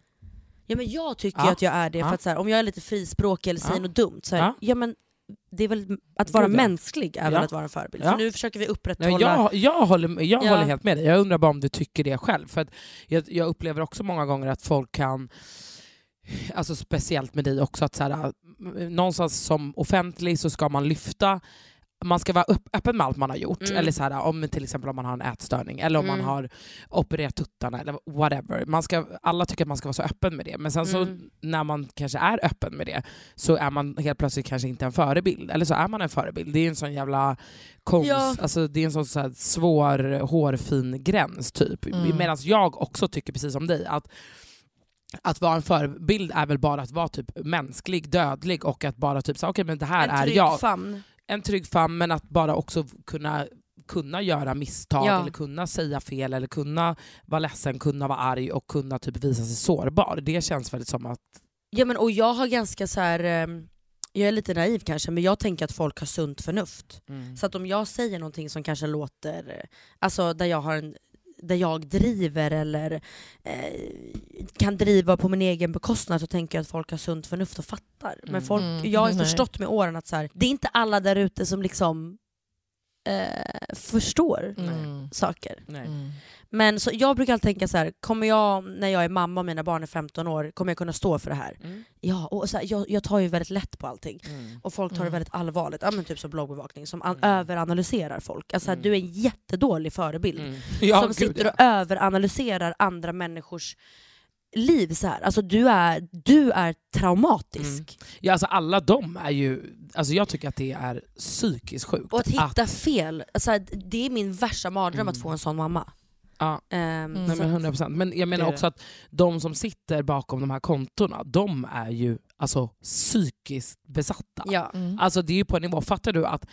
[SPEAKER 4] Ja men jag tycker
[SPEAKER 3] Ja.
[SPEAKER 4] att jag är det,
[SPEAKER 3] Ja.
[SPEAKER 4] för att så här, om jag är lite frispråkig eller säger
[SPEAKER 3] Ja.
[SPEAKER 4] något dumt, så här,
[SPEAKER 3] Ja.
[SPEAKER 4] ja. men det är väl att vara
[SPEAKER 3] Gud, ja.
[SPEAKER 4] mänsklig är väl
[SPEAKER 3] Ja.
[SPEAKER 4] att vara en förebild.
[SPEAKER 3] Ja.
[SPEAKER 4] För nu försöker vi upprätthålla...
[SPEAKER 3] Nej, jag, jag, håller, jag
[SPEAKER 4] Ja.
[SPEAKER 3] håller helt med dig. Jag undrar bara om du tycker det själv. För att jag, jag upplever också många gånger att folk kan, alltså speciellt med dig också, att så här, äh, någonstans som offentlig så ska man lyfta man ska vara upp, öppen med allt man har gjort.
[SPEAKER 4] Mm.
[SPEAKER 3] Eller så här, om till exempel om man har en ätstörning eller om
[SPEAKER 4] Mm.
[SPEAKER 3] man har opererat tuttarna eller whatever. Man ska, alla tycker att man ska vara så öppen med det. Men sen så
[SPEAKER 4] Mm.
[SPEAKER 3] när man kanske är öppen med det så är man helt plötsligt kanske inte en förebild. Eller så är man en förebild. Det är ju en sån jävla konst,
[SPEAKER 4] Ja.
[SPEAKER 3] alltså det är en sån så här svår hårfin gräns typ.
[SPEAKER 1] Mm.
[SPEAKER 3] Medan jag också tycker precis som dig att att vara en förebild är väl bara att vara typ mänsklig, dödlig och att bara typ säga okej men det här
[SPEAKER 4] en
[SPEAKER 3] är
[SPEAKER 4] trygg
[SPEAKER 3] jag
[SPEAKER 4] famn.
[SPEAKER 3] en trygg famn men att bara också kunna, kunna göra misstag
[SPEAKER 4] Ja.
[SPEAKER 3] eller kunna säga fel eller kunna vara ledsen, kunna vara arg och kunna typ visa sig sårbar. Det känns väldigt som att...
[SPEAKER 4] Ja men och jag har ganska så här... ehm, Jag är lite naiv kanske, men jag tänker att folk har sunt förnuft. Så att om jag säger någonting som kanske låter, eh, alltså där jag har en där jag driver eller eh, kan driva på min egen bekostnad så tänker jag att folk har sunt förnuft och fattar. Men
[SPEAKER 3] Mm.
[SPEAKER 4] folk,
[SPEAKER 1] Mm,
[SPEAKER 4] jag har ju
[SPEAKER 1] nej.
[SPEAKER 4] förstått med åren att så här, det är inte alla där ute som liksom eh, förstår
[SPEAKER 1] Mm.
[SPEAKER 4] saker.
[SPEAKER 3] Nej.
[SPEAKER 1] Mm.
[SPEAKER 4] Men så jag brukar alltid tänka så här, kommer jag när jag är mamma och mina barn är 15 år, kommer jag kunna stå för det här?
[SPEAKER 3] Mm.
[SPEAKER 4] Ja, och så här, jag, jag tar ju väldigt lätt på allting.
[SPEAKER 3] Mm.
[SPEAKER 4] Och folk tar
[SPEAKER 1] Mm.
[SPEAKER 4] det väldigt allvarligt, ja, men typ som bloggbevakning som an-
[SPEAKER 3] Mm.
[SPEAKER 4] överanalyserar folk. Alltså,
[SPEAKER 3] Mm.
[SPEAKER 4] Du är en jättedålig förebild
[SPEAKER 3] Mm. Ja,
[SPEAKER 4] som
[SPEAKER 3] gud,
[SPEAKER 4] sitter
[SPEAKER 3] ja.
[SPEAKER 4] och överanalyserar andra människors liv. Så här. Alltså, du, är, du är traumatisk.
[SPEAKER 3] Ja, alltså alla de är ju... Alltså jag tycker att det är psykiskt sjukt.
[SPEAKER 4] Och att hitta
[SPEAKER 3] Att,
[SPEAKER 4] fel, alltså, här, det är min värsta mardröm
[SPEAKER 3] Mm.
[SPEAKER 4] att få en sån mamma.
[SPEAKER 3] ja,
[SPEAKER 4] Ehm,
[SPEAKER 3] nej,
[SPEAKER 4] så
[SPEAKER 3] men
[SPEAKER 4] att-
[SPEAKER 3] 100 procent. Men jag menar
[SPEAKER 1] Det är
[SPEAKER 3] också att de som sitter bakom de här kontona, de är ju alltså, psykiskt besatta.
[SPEAKER 4] ja.
[SPEAKER 1] Mm.
[SPEAKER 3] Alltså det är ju på en nivå, fattar du att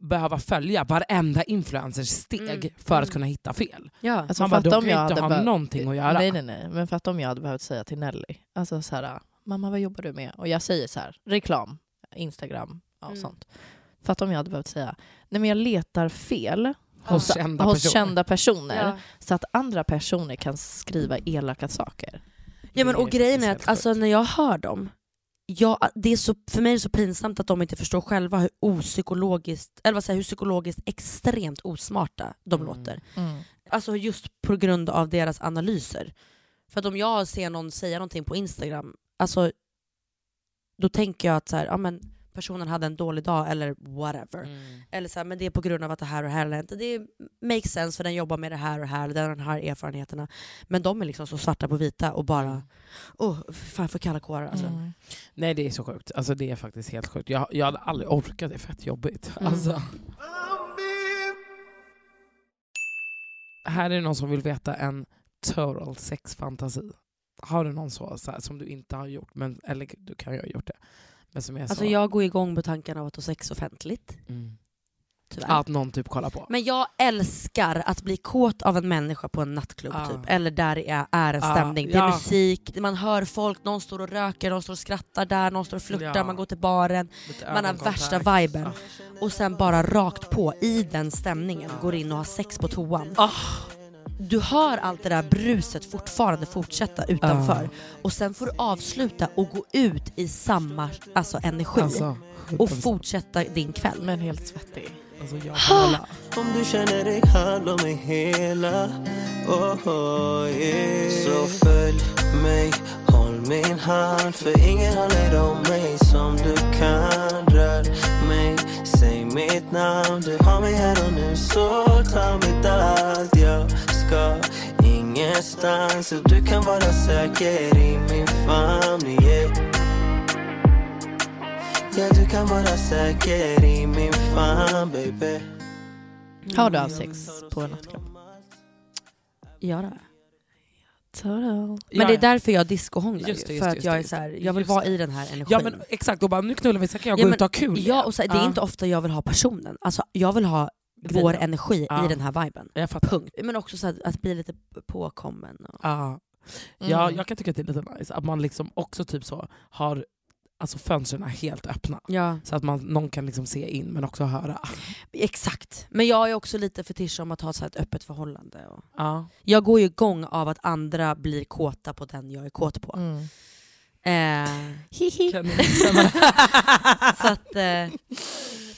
[SPEAKER 3] behöva följa varenda influencers steg
[SPEAKER 4] Mm,
[SPEAKER 3] för att
[SPEAKER 4] mm.
[SPEAKER 3] kunna hitta fel.
[SPEAKER 4] Ja.
[SPEAKER 1] Alltså,
[SPEAKER 3] Man bara,
[SPEAKER 1] fatta
[SPEAKER 3] de
[SPEAKER 1] om
[SPEAKER 3] kan ju
[SPEAKER 1] jag
[SPEAKER 3] inte
[SPEAKER 1] hade
[SPEAKER 3] ha
[SPEAKER 1] behövt-
[SPEAKER 3] någonting att göra.
[SPEAKER 1] Nej, nej, nej. Men fatta om jag hade behövt säga till Nelly, alltså så här, mamma vad jobbar du med? Och jag säger så här, reklam, Instagram ja, och
[SPEAKER 4] Mm.
[SPEAKER 1] sånt. Fatta om jag hade behövt säga, nej men jag letar fel
[SPEAKER 3] Hos kända
[SPEAKER 1] hos
[SPEAKER 3] personer.
[SPEAKER 1] kända personer
[SPEAKER 4] Ja.
[SPEAKER 1] så att andra personer kan skriva elaka saker.
[SPEAKER 4] Ja, men,
[SPEAKER 3] Det är
[SPEAKER 4] och grejen är
[SPEAKER 3] helt
[SPEAKER 4] att alltså,
[SPEAKER 3] sjukt.
[SPEAKER 4] när jag hör dem, jag, det är så, för mig är det så pinsamt att de inte förstår själva hur opsykologiskt, eller vad säger, jag, hur psykologiskt extremt osmarta de
[SPEAKER 3] Mm.
[SPEAKER 4] låter.
[SPEAKER 1] Mm.
[SPEAKER 4] Alltså just på grund av deras analyser. För att om jag ser någon säga någonting på Instagram, alltså, då tänker jag att så här, ja, men, personen hade en dålig dag eller whatever.
[SPEAKER 3] Mm.
[SPEAKER 4] Eller så här, men det är på grund av att det här och det här har hänt. Det makes sense för den jobbar med det här och det här, den har de här erfarenheterna. Men de är liksom så svarta på vita och
[SPEAKER 3] Mm.
[SPEAKER 4] bara, åh, oh, fan för kalla kårar alltså.
[SPEAKER 1] Mm.
[SPEAKER 3] Nej det är så sjukt, alltså, det är faktiskt helt sjukt. Jag, jag hade aldrig orkat, det är fett jobbigt.
[SPEAKER 4] Mm.
[SPEAKER 3] Alltså. Här är någon som vill veta en total sexfantasi. Har du någon så, så här, som du inte har gjort, men, eller du kan ju ha gjort det. Men som är
[SPEAKER 4] Alltså
[SPEAKER 3] så,
[SPEAKER 4] jag går igång på tanken av att ha sex offentligt,
[SPEAKER 3] mm,
[SPEAKER 4] tyvärr.
[SPEAKER 3] att någon typ kollar på.
[SPEAKER 4] Men jag älskar att bli kåt av en människa på en nattklubb
[SPEAKER 3] Ah.
[SPEAKER 4] typ, eller där det är, är en
[SPEAKER 3] Ah,
[SPEAKER 4] stämning. Det är
[SPEAKER 3] ja.
[SPEAKER 4] musik, man hör folk, någon står och röker, någon står och skrattar där, någon står och flörtar,
[SPEAKER 3] Ja.
[SPEAKER 4] man går till baren,
[SPEAKER 3] Lite
[SPEAKER 4] man har
[SPEAKER 3] ögonkontakt.
[SPEAKER 4] värsta viben.
[SPEAKER 3] Ah.
[SPEAKER 4] Och sen bara rakt på, i den stämningen, går in och har sex på toan. Du hör allt det där bruset fortfarande fortsätta utanför. Och sen får du avsluta och gå ut i samma alltså, energi.
[SPEAKER 3] Alltså,
[SPEAKER 4] och fortsätta din kväll.
[SPEAKER 1] Men helt svettig.
[SPEAKER 3] alltså, jag kan hålla.
[SPEAKER 7] om du känner dig kall och mig hela oh, oh, yeah. Så följ mig, håll min hand För ingen håller om mig som du kan Rör mig, säg mitt namn Du har mig här och nu så ta mitt allt Jag ska ingenstans och du kan vara säker i min famn yeah. Ja, du kan vara säker i min famn, baby
[SPEAKER 1] Har du haft sex på en nattklubb?
[SPEAKER 4] Ja, det.
[SPEAKER 1] Total.
[SPEAKER 4] Men det är därför jag discohånglar.
[SPEAKER 3] Just det,
[SPEAKER 4] ju,
[SPEAKER 3] just
[SPEAKER 4] För
[SPEAKER 3] det,
[SPEAKER 4] att
[SPEAKER 3] just
[SPEAKER 4] jag
[SPEAKER 3] det,
[SPEAKER 4] är
[SPEAKER 3] just
[SPEAKER 4] så
[SPEAKER 3] det.
[SPEAKER 4] här, jag vill
[SPEAKER 3] Just
[SPEAKER 4] vara
[SPEAKER 3] det.
[SPEAKER 4] i den här energin.
[SPEAKER 3] Ja men exakt, och bara nu knullar vi, sen kan jag
[SPEAKER 4] Ja,
[SPEAKER 3] gå
[SPEAKER 4] men-
[SPEAKER 3] ut och ha kul
[SPEAKER 4] ja, och så, här, det är
[SPEAKER 3] Ja.
[SPEAKER 4] inte ofta jag vill ha personen. Alltså, jag vill ha
[SPEAKER 3] Grejen.
[SPEAKER 4] vår energi
[SPEAKER 3] Ja.
[SPEAKER 4] i den här viben.
[SPEAKER 3] Jag fattar.
[SPEAKER 4] Punkt. Men också så här, att bli lite påkommen. Och...
[SPEAKER 3] Ja. Ja,
[SPEAKER 4] Mm.
[SPEAKER 3] jag kan tycka att det är lite nice att man liksom också typ så har alltså fönstren helt öppna.
[SPEAKER 4] Ja.
[SPEAKER 3] Så att man, någon kan liksom se in men också höra.
[SPEAKER 4] Exakt. Men jag är också lite fetisch om att ha så här, ett öppet förhållande. Och...
[SPEAKER 3] Ja.
[SPEAKER 4] Jag går ju igång av att andra blir kåta på den jag är kåt på.
[SPEAKER 1] Mm.
[SPEAKER 4] Eh,
[SPEAKER 3] Kan
[SPEAKER 4] så att, eh,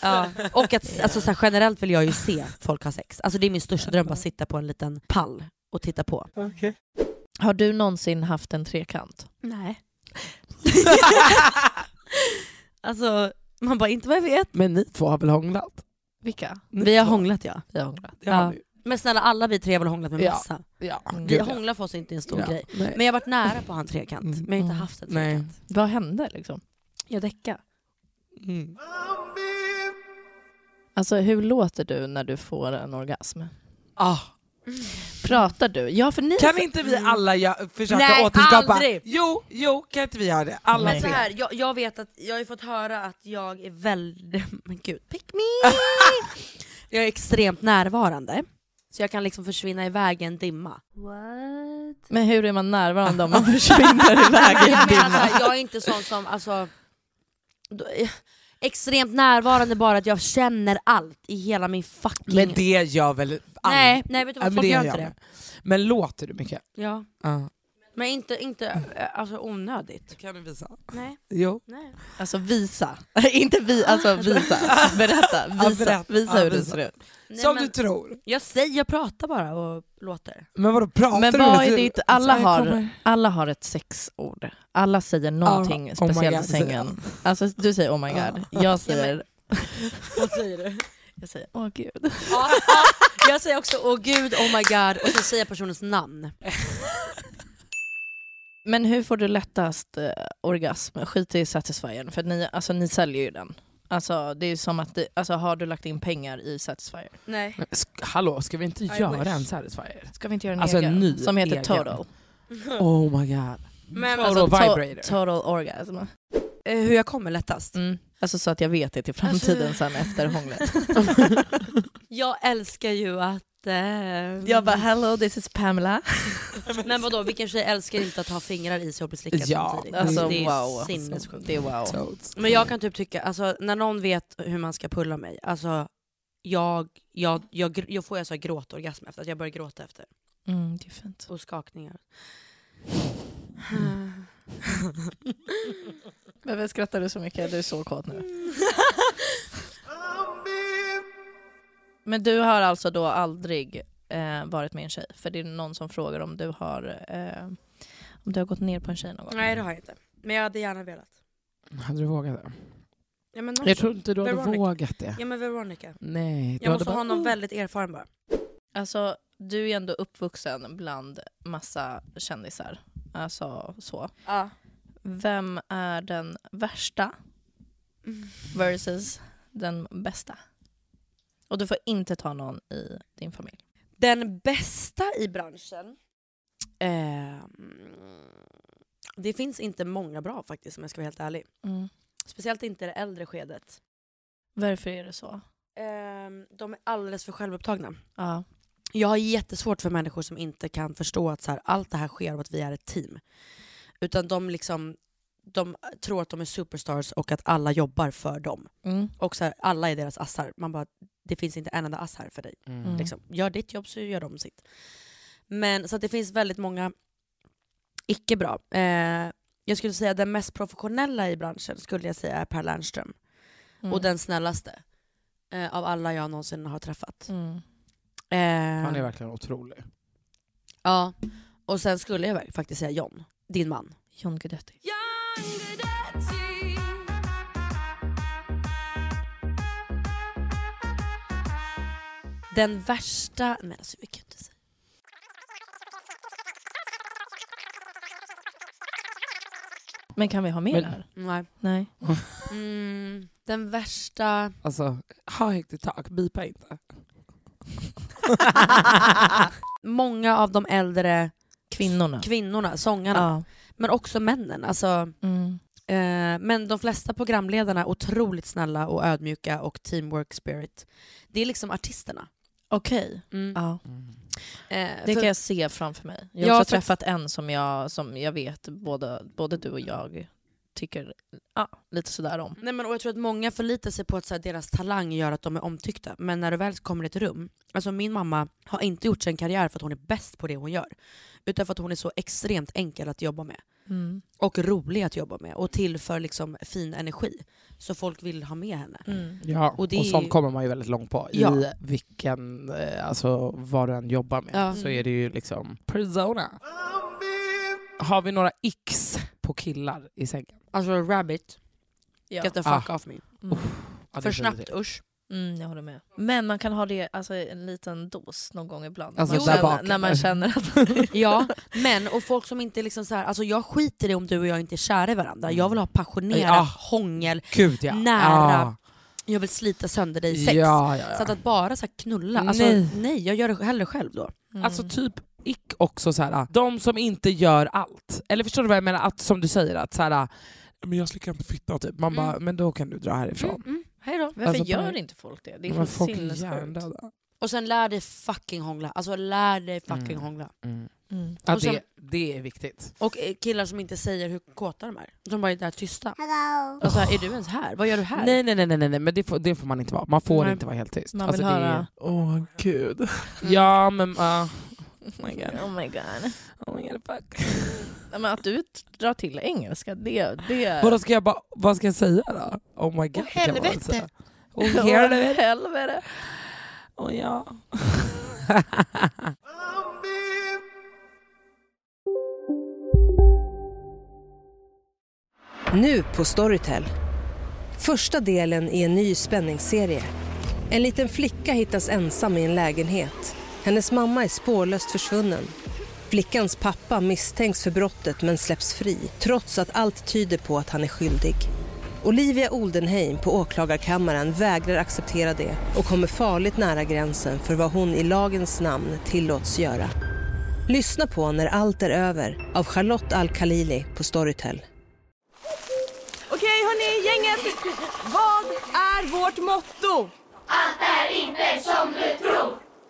[SPEAKER 4] ja. Och att alltså, så här, generellt vill jag ju se folk ha sex. Alltså, det är min största dröm, att sitta på en liten pall och titta på.
[SPEAKER 1] Har du någonsin haft en trekant?
[SPEAKER 4] Nej. alltså, man bara inte vad jag vet.
[SPEAKER 3] Men ni två har väl hånglat?
[SPEAKER 1] Vilka?
[SPEAKER 4] Vi har hånglat ja.
[SPEAKER 1] Vi har hånglat.
[SPEAKER 3] Det har
[SPEAKER 4] Ja.
[SPEAKER 3] vi.
[SPEAKER 4] Men snälla alla vi tre har väl hånglat med
[SPEAKER 3] Ja.
[SPEAKER 4] massa.
[SPEAKER 3] Ja.
[SPEAKER 1] Mm.
[SPEAKER 4] Vi hånglar för oss är inte en stor
[SPEAKER 3] Ja.
[SPEAKER 4] grej.
[SPEAKER 3] Nej.
[SPEAKER 4] Men jag har varit nära på han trekant, men jag har inte
[SPEAKER 1] Mm.
[SPEAKER 4] haft en
[SPEAKER 3] Nej.
[SPEAKER 4] trekant.
[SPEAKER 1] Vad hände liksom? Jag däckade.
[SPEAKER 3] Mm.
[SPEAKER 1] Alltså hur låter du när du får en orgasm?
[SPEAKER 3] Ah.
[SPEAKER 1] Pratar du? Ja för ni...
[SPEAKER 3] Kan inte vi alla gö- försöka
[SPEAKER 4] Mm. Nej,
[SPEAKER 3] återskapa?
[SPEAKER 4] aldrig.
[SPEAKER 3] Jo, jo, kan inte vi göra det? Alla
[SPEAKER 4] Men så
[SPEAKER 3] tre.
[SPEAKER 4] här, jag, jag vet att jag har ju fått höra att jag är väldigt, men gud, pick me! jag är extremt närvarande. Så jag kan liksom försvinna iväg i en dimma.
[SPEAKER 1] Men hur är man närvarande om man försvinner iväg i en
[SPEAKER 4] Jag menar så
[SPEAKER 1] dimma?
[SPEAKER 4] här, jag är inte sån som, alltså, då- eh, extremt närvarande bara att jag känner allt i hela min fucking...
[SPEAKER 3] Men det gör väl alla?
[SPEAKER 4] nej, nej vet du
[SPEAKER 3] Ja,
[SPEAKER 4] vad,
[SPEAKER 3] men, det
[SPEAKER 4] folk gör
[SPEAKER 3] gör
[SPEAKER 4] inte
[SPEAKER 3] jag
[SPEAKER 4] det.
[SPEAKER 3] med. men låter du mycket?
[SPEAKER 4] Ja.
[SPEAKER 3] Ja.
[SPEAKER 4] Men inte, inte eh, alltså, onödigt.
[SPEAKER 3] Kan du visa?
[SPEAKER 4] Nej,
[SPEAKER 3] Jo.
[SPEAKER 4] nej.
[SPEAKER 1] Alltså visa. inte vi, alltså visa. Berätta. Visa,
[SPEAKER 3] berätta.
[SPEAKER 1] visa
[SPEAKER 3] Ja,
[SPEAKER 1] hur det
[SPEAKER 3] visa.
[SPEAKER 1] ser ut.
[SPEAKER 4] nej
[SPEAKER 3] Som
[SPEAKER 4] men,
[SPEAKER 3] du tror.
[SPEAKER 4] Jag säger, jag pratar bara och låter.
[SPEAKER 3] Men vadå, pratar
[SPEAKER 1] Men
[SPEAKER 3] du?
[SPEAKER 1] vad
[SPEAKER 3] med-
[SPEAKER 1] är ditt, alla
[SPEAKER 3] Jag
[SPEAKER 1] har,
[SPEAKER 3] kommer-
[SPEAKER 1] alla har ett sexord. Alla säger någonting
[SPEAKER 3] Ah, oh my
[SPEAKER 1] speciellt
[SPEAKER 3] God,
[SPEAKER 1] i
[SPEAKER 3] Ah. säger
[SPEAKER 1] sängen. Alltså du säger oh my god, jag säger...
[SPEAKER 4] Vad säger du?
[SPEAKER 1] Jag säger åh gud.
[SPEAKER 4] Ja, ja. jag säger också åh gud, oh my god och sen säger jag personens namn.
[SPEAKER 1] Men hur får du lättast eh, orgasm? Skit i Satisfyern, för ni, alltså, ni säljer ju den. Alltså, det är ju som att, det, alltså, har du lagt in pengar i Satisfyer?
[SPEAKER 4] Nej.
[SPEAKER 3] Men sk- hallå, ska vi inte göra
[SPEAKER 4] wish.
[SPEAKER 3] en Satisfyer?
[SPEAKER 1] Ska vi inte göra en
[SPEAKER 3] Alltså,
[SPEAKER 1] egen
[SPEAKER 3] en ny
[SPEAKER 1] som heter
[SPEAKER 3] egen.
[SPEAKER 1] Total? Alltså,
[SPEAKER 3] Oh my god.
[SPEAKER 4] Men alltså,
[SPEAKER 3] Total
[SPEAKER 1] to-
[SPEAKER 3] vibrator.
[SPEAKER 1] Total orgasm.
[SPEAKER 4] eh, hur jag kommer lättast?
[SPEAKER 1] Mm. Alltså så att jag vet det till framtiden
[SPEAKER 4] Alltså-
[SPEAKER 1] sen efter hånglet.
[SPEAKER 4] Jag älskar ju att... Eh,
[SPEAKER 1] jag bara hello this is Pamela.
[SPEAKER 4] men vadå, vilken tjej älskar inte att ha fingrar i sig och bli slickad
[SPEAKER 3] Ja,
[SPEAKER 4] samtidigt?
[SPEAKER 1] Alltså
[SPEAKER 4] det är
[SPEAKER 1] wow.
[SPEAKER 4] sinnessjukt.
[SPEAKER 1] Det är wow.
[SPEAKER 3] Toads.
[SPEAKER 4] Men jag kan typ tycka, alltså när någon vet hur man ska pulla mig, alltså jag, jag, jag, gr- jag får jag så här gråtorgasm efter att jag börjar gråta efter.
[SPEAKER 1] Mm, det är fint.
[SPEAKER 4] Och skakningar.
[SPEAKER 1] Mm. Varför skrattar du så mycket? Du är så kåt nu. Men du har alltså då aldrig eh, varit med en tjej? För det är någon som frågar om du har, eh, om du har gått ner på en tjej någon gång?
[SPEAKER 4] Nej det har jag inte. Men jag hade gärna velat.
[SPEAKER 3] Hade du vågat det?
[SPEAKER 4] Ja, men
[SPEAKER 3] Jag tror inte du hade
[SPEAKER 4] Veronica.
[SPEAKER 3] vågat det.
[SPEAKER 4] Ja men Veronica.
[SPEAKER 3] Nej. du
[SPEAKER 4] Jag
[SPEAKER 3] hade
[SPEAKER 4] måste
[SPEAKER 3] bara-
[SPEAKER 4] ha någon väldigt erfaren bara.
[SPEAKER 1] Alltså, du är ändå uppvuxen bland massa kändisar. Alltså så.
[SPEAKER 4] Ja.
[SPEAKER 1] Vem är den värsta versus den bästa? Och du får inte ta någon i din familj.
[SPEAKER 4] Den bästa i branschen? ehm, det finns inte många bra faktiskt om jag ska vara helt ärlig. Speciellt inte i det äldre skedet.
[SPEAKER 1] Varför är det så?
[SPEAKER 4] Ehm, de är alldeles för självupptagna.
[SPEAKER 1] Ja.
[SPEAKER 4] Jag har jättesvårt för människor som inte kan förstå att så här, allt det här sker och att vi är ett team. Utan de, liksom, de tror att de är superstars och att alla jobbar för dem. Och så här, alla är deras assar. Man bara, det finns inte en enda ass här för dig.
[SPEAKER 1] Mm.
[SPEAKER 4] Liksom, gör ditt jobb så gör de sitt. Men så att det finns väldigt många icke bra. Eh, jag skulle säga den mest professionella i branschen skulle jag säga är Per Lernström.
[SPEAKER 1] Mm.
[SPEAKER 4] Och den snällaste eh, av alla jag någonsin har träffat.
[SPEAKER 1] Mm.
[SPEAKER 4] Eh,
[SPEAKER 3] Han är verkligen otrolig.
[SPEAKER 4] Ja. Och sen skulle jag verk- faktiskt säga John, din man.
[SPEAKER 1] John Guidetti.
[SPEAKER 4] Den värsta... Men alltså vi kan inte säga.
[SPEAKER 1] Men kan vi ha mer
[SPEAKER 3] Men-
[SPEAKER 1] här?
[SPEAKER 4] Nej.
[SPEAKER 1] Nej.
[SPEAKER 4] Mm, den värsta...
[SPEAKER 3] Alltså, ha högt i tak, bipa inte.
[SPEAKER 4] Många av de äldre
[SPEAKER 1] Kvinnorna.
[SPEAKER 4] kvinnorna, sångarna,
[SPEAKER 1] Ja.
[SPEAKER 4] men också männen. Alltså,
[SPEAKER 1] Mm.
[SPEAKER 4] eh, men de flesta programledarna är otroligt snälla och ödmjuka och teamwork spirit. Det är liksom artisterna.
[SPEAKER 1] Okej.
[SPEAKER 4] Ja.
[SPEAKER 1] Ja.
[SPEAKER 4] Eh,
[SPEAKER 1] Mm.
[SPEAKER 4] för-
[SPEAKER 1] Det kan jag se framför mig. Jag
[SPEAKER 4] Ja,
[SPEAKER 1] har också
[SPEAKER 4] för-
[SPEAKER 1] träffat en som jag, som jag vet både, både du och jag tycker ja, lite sådär om.
[SPEAKER 4] Nej, men, och jag tror att många förlitar sig på att så här, deras talang gör att de är omtyckta. Men när du väl kommer i ett rum, alltså min mamma har inte gjort sin karriär för att hon är bäst på det hon gör. Utan för att hon är så extremt enkel att jobba med.
[SPEAKER 1] Mm.
[SPEAKER 4] Och rolig att jobba med. Och tillför liksom fin energi. Så folk vill ha med henne.
[SPEAKER 1] Mm.
[SPEAKER 3] Ja,
[SPEAKER 4] Och
[SPEAKER 3] och,
[SPEAKER 4] det är ju-
[SPEAKER 3] sånt kommer man ju väldigt långt på.
[SPEAKER 4] Ja.
[SPEAKER 3] I vilken, eh, alltså vad du än jobbar med
[SPEAKER 4] Ja.
[SPEAKER 3] så är det ju liksom persona. Har vi några x på killar i sängen?
[SPEAKER 4] Alltså rabbit,
[SPEAKER 1] Ja.
[SPEAKER 4] get the fuck off me.
[SPEAKER 3] Ja, Ah. det
[SPEAKER 4] för
[SPEAKER 3] är
[SPEAKER 4] snabbt,
[SPEAKER 3] definitivt.
[SPEAKER 4] usch.
[SPEAKER 1] Mm, jag håller med. Men man kan ha det alltså, i en liten dos någon gång ibland.
[SPEAKER 3] Alltså,
[SPEAKER 1] man
[SPEAKER 3] där
[SPEAKER 1] känner,
[SPEAKER 3] bak.
[SPEAKER 1] när man känner att...
[SPEAKER 4] Ja, men och folk som inte liksom så här, alltså jag skiter i om du och jag inte är kära i varandra. Jag vill ha passionerat
[SPEAKER 3] Mm. Ja.
[SPEAKER 4] hångel,
[SPEAKER 3] Gud ja.
[SPEAKER 4] Nära jag vill slita sönder dig i
[SPEAKER 3] Ja,
[SPEAKER 4] sex.
[SPEAKER 3] ja,
[SPEAKER 4] Så
[SPEAKER 3] ja.
[SPEAKER 4] att, att bara så här knulla, alltså, nej.
[SPEAKER 3] Nej.
[SPEAKER 4] jag gör det hellre själv då.
[SPEAKER 1] Mm.
[SPEAKER 3] Alltså typ ick också så här. ah, de som inte gör allt. Eller förstår du vad jag menar? Att, som du säger, att så här, ah,
[SPEAKER 5] Men jag slickar inte fitta.
[SPEAKER 3] typ, man bara,
[SPEAKER 4] Mm.
[SPEAKER 3] men då kan du dra härifrån.
[SPEAKER 4] Hej då.
[SPEAKER 1] varför
[SPEAKER 3] alltså, på-
[SPEAKER 1] gör inte folk det? Det är
[SPEAKER 3] Men
[SPEAKER 1] helt
[SPEAKER 3] folk är
[SPEAKER 1] sinnessjukt.
[SPEAKER 3] hjärndöda.
[SPEAKER 4] Och sen lär dig fucking hångla, alltså lär dig fucking
[SPEAKER 3] Mm.
[SPEAKER 4] hångla.
[SPEAKER 3] Mm.
[SPEAKER 1] Mm.
[SPEAKER 3] Ja,
[SPEAKER 4] Och sen-
[SPEAKER 3] det, det är viktigt.
[SPEAKER 4] Och eh, killar som inte säger hur kåta de är, de bara är där tysta.
[SPEAKER 3] Oh.
[SPEAKER 4] Hello. Och så här, är du ens här? Vad gör du här?
[SPEAKER 3] Nej, nej, nej, nej, nej, nej, men det får, det får man inte vara. Man får
[SPEAKER 4] Nej.
[SPEAKER 3] inte vara helt tyst. Alltså,
[SPEAKER 1] Man vill höra.
[SPEAKER 3] Det är... Åh gud.
[SPEAKER 4] Mm.
[SPEAKER 3] Ja men... ja. oh my god.
[SPEAKER 1] Oh my god.
[SPEAKER 3] Oh my god fuck.
[SPEAKER 4] Äh.
[SPEAKER 1] Nej, Men att du drar till engelska, det... det...
[SPEAKER 3] Vadå, ska jag bara, vad ska jag säga då? Oh my god.
[SPEAKER 4] Åh,
[SPEAKER 3] kan man väl
[SPEAKER 4] helvete.
[SPEAKER 3] säga. Åh helvete.
[SPEAKER 1] helvete.
[SPEAKER 3] Åh ja.
[SPEAKER 8] Nu på Storytel. Första delen i en ny spänningsserie. En liten flicka hittas ensam i en lägenhet. Hennes mamma är spårlöst försvunnen. Flickans pappa misstänks för brottet men släpps fri trots att allt tyder på att han är skyldig. Olivia Oldenheim på åklagarkammaren vägrar acceptera det och kommer farligt nära gränsen för vad hon i lagens namn tillåts göra. Lyssna på När allt är över av Charlotte Al-Khalili på Storytel.
[SPEAKER 9] Okej hörni, gänget! Vad är vårt motto?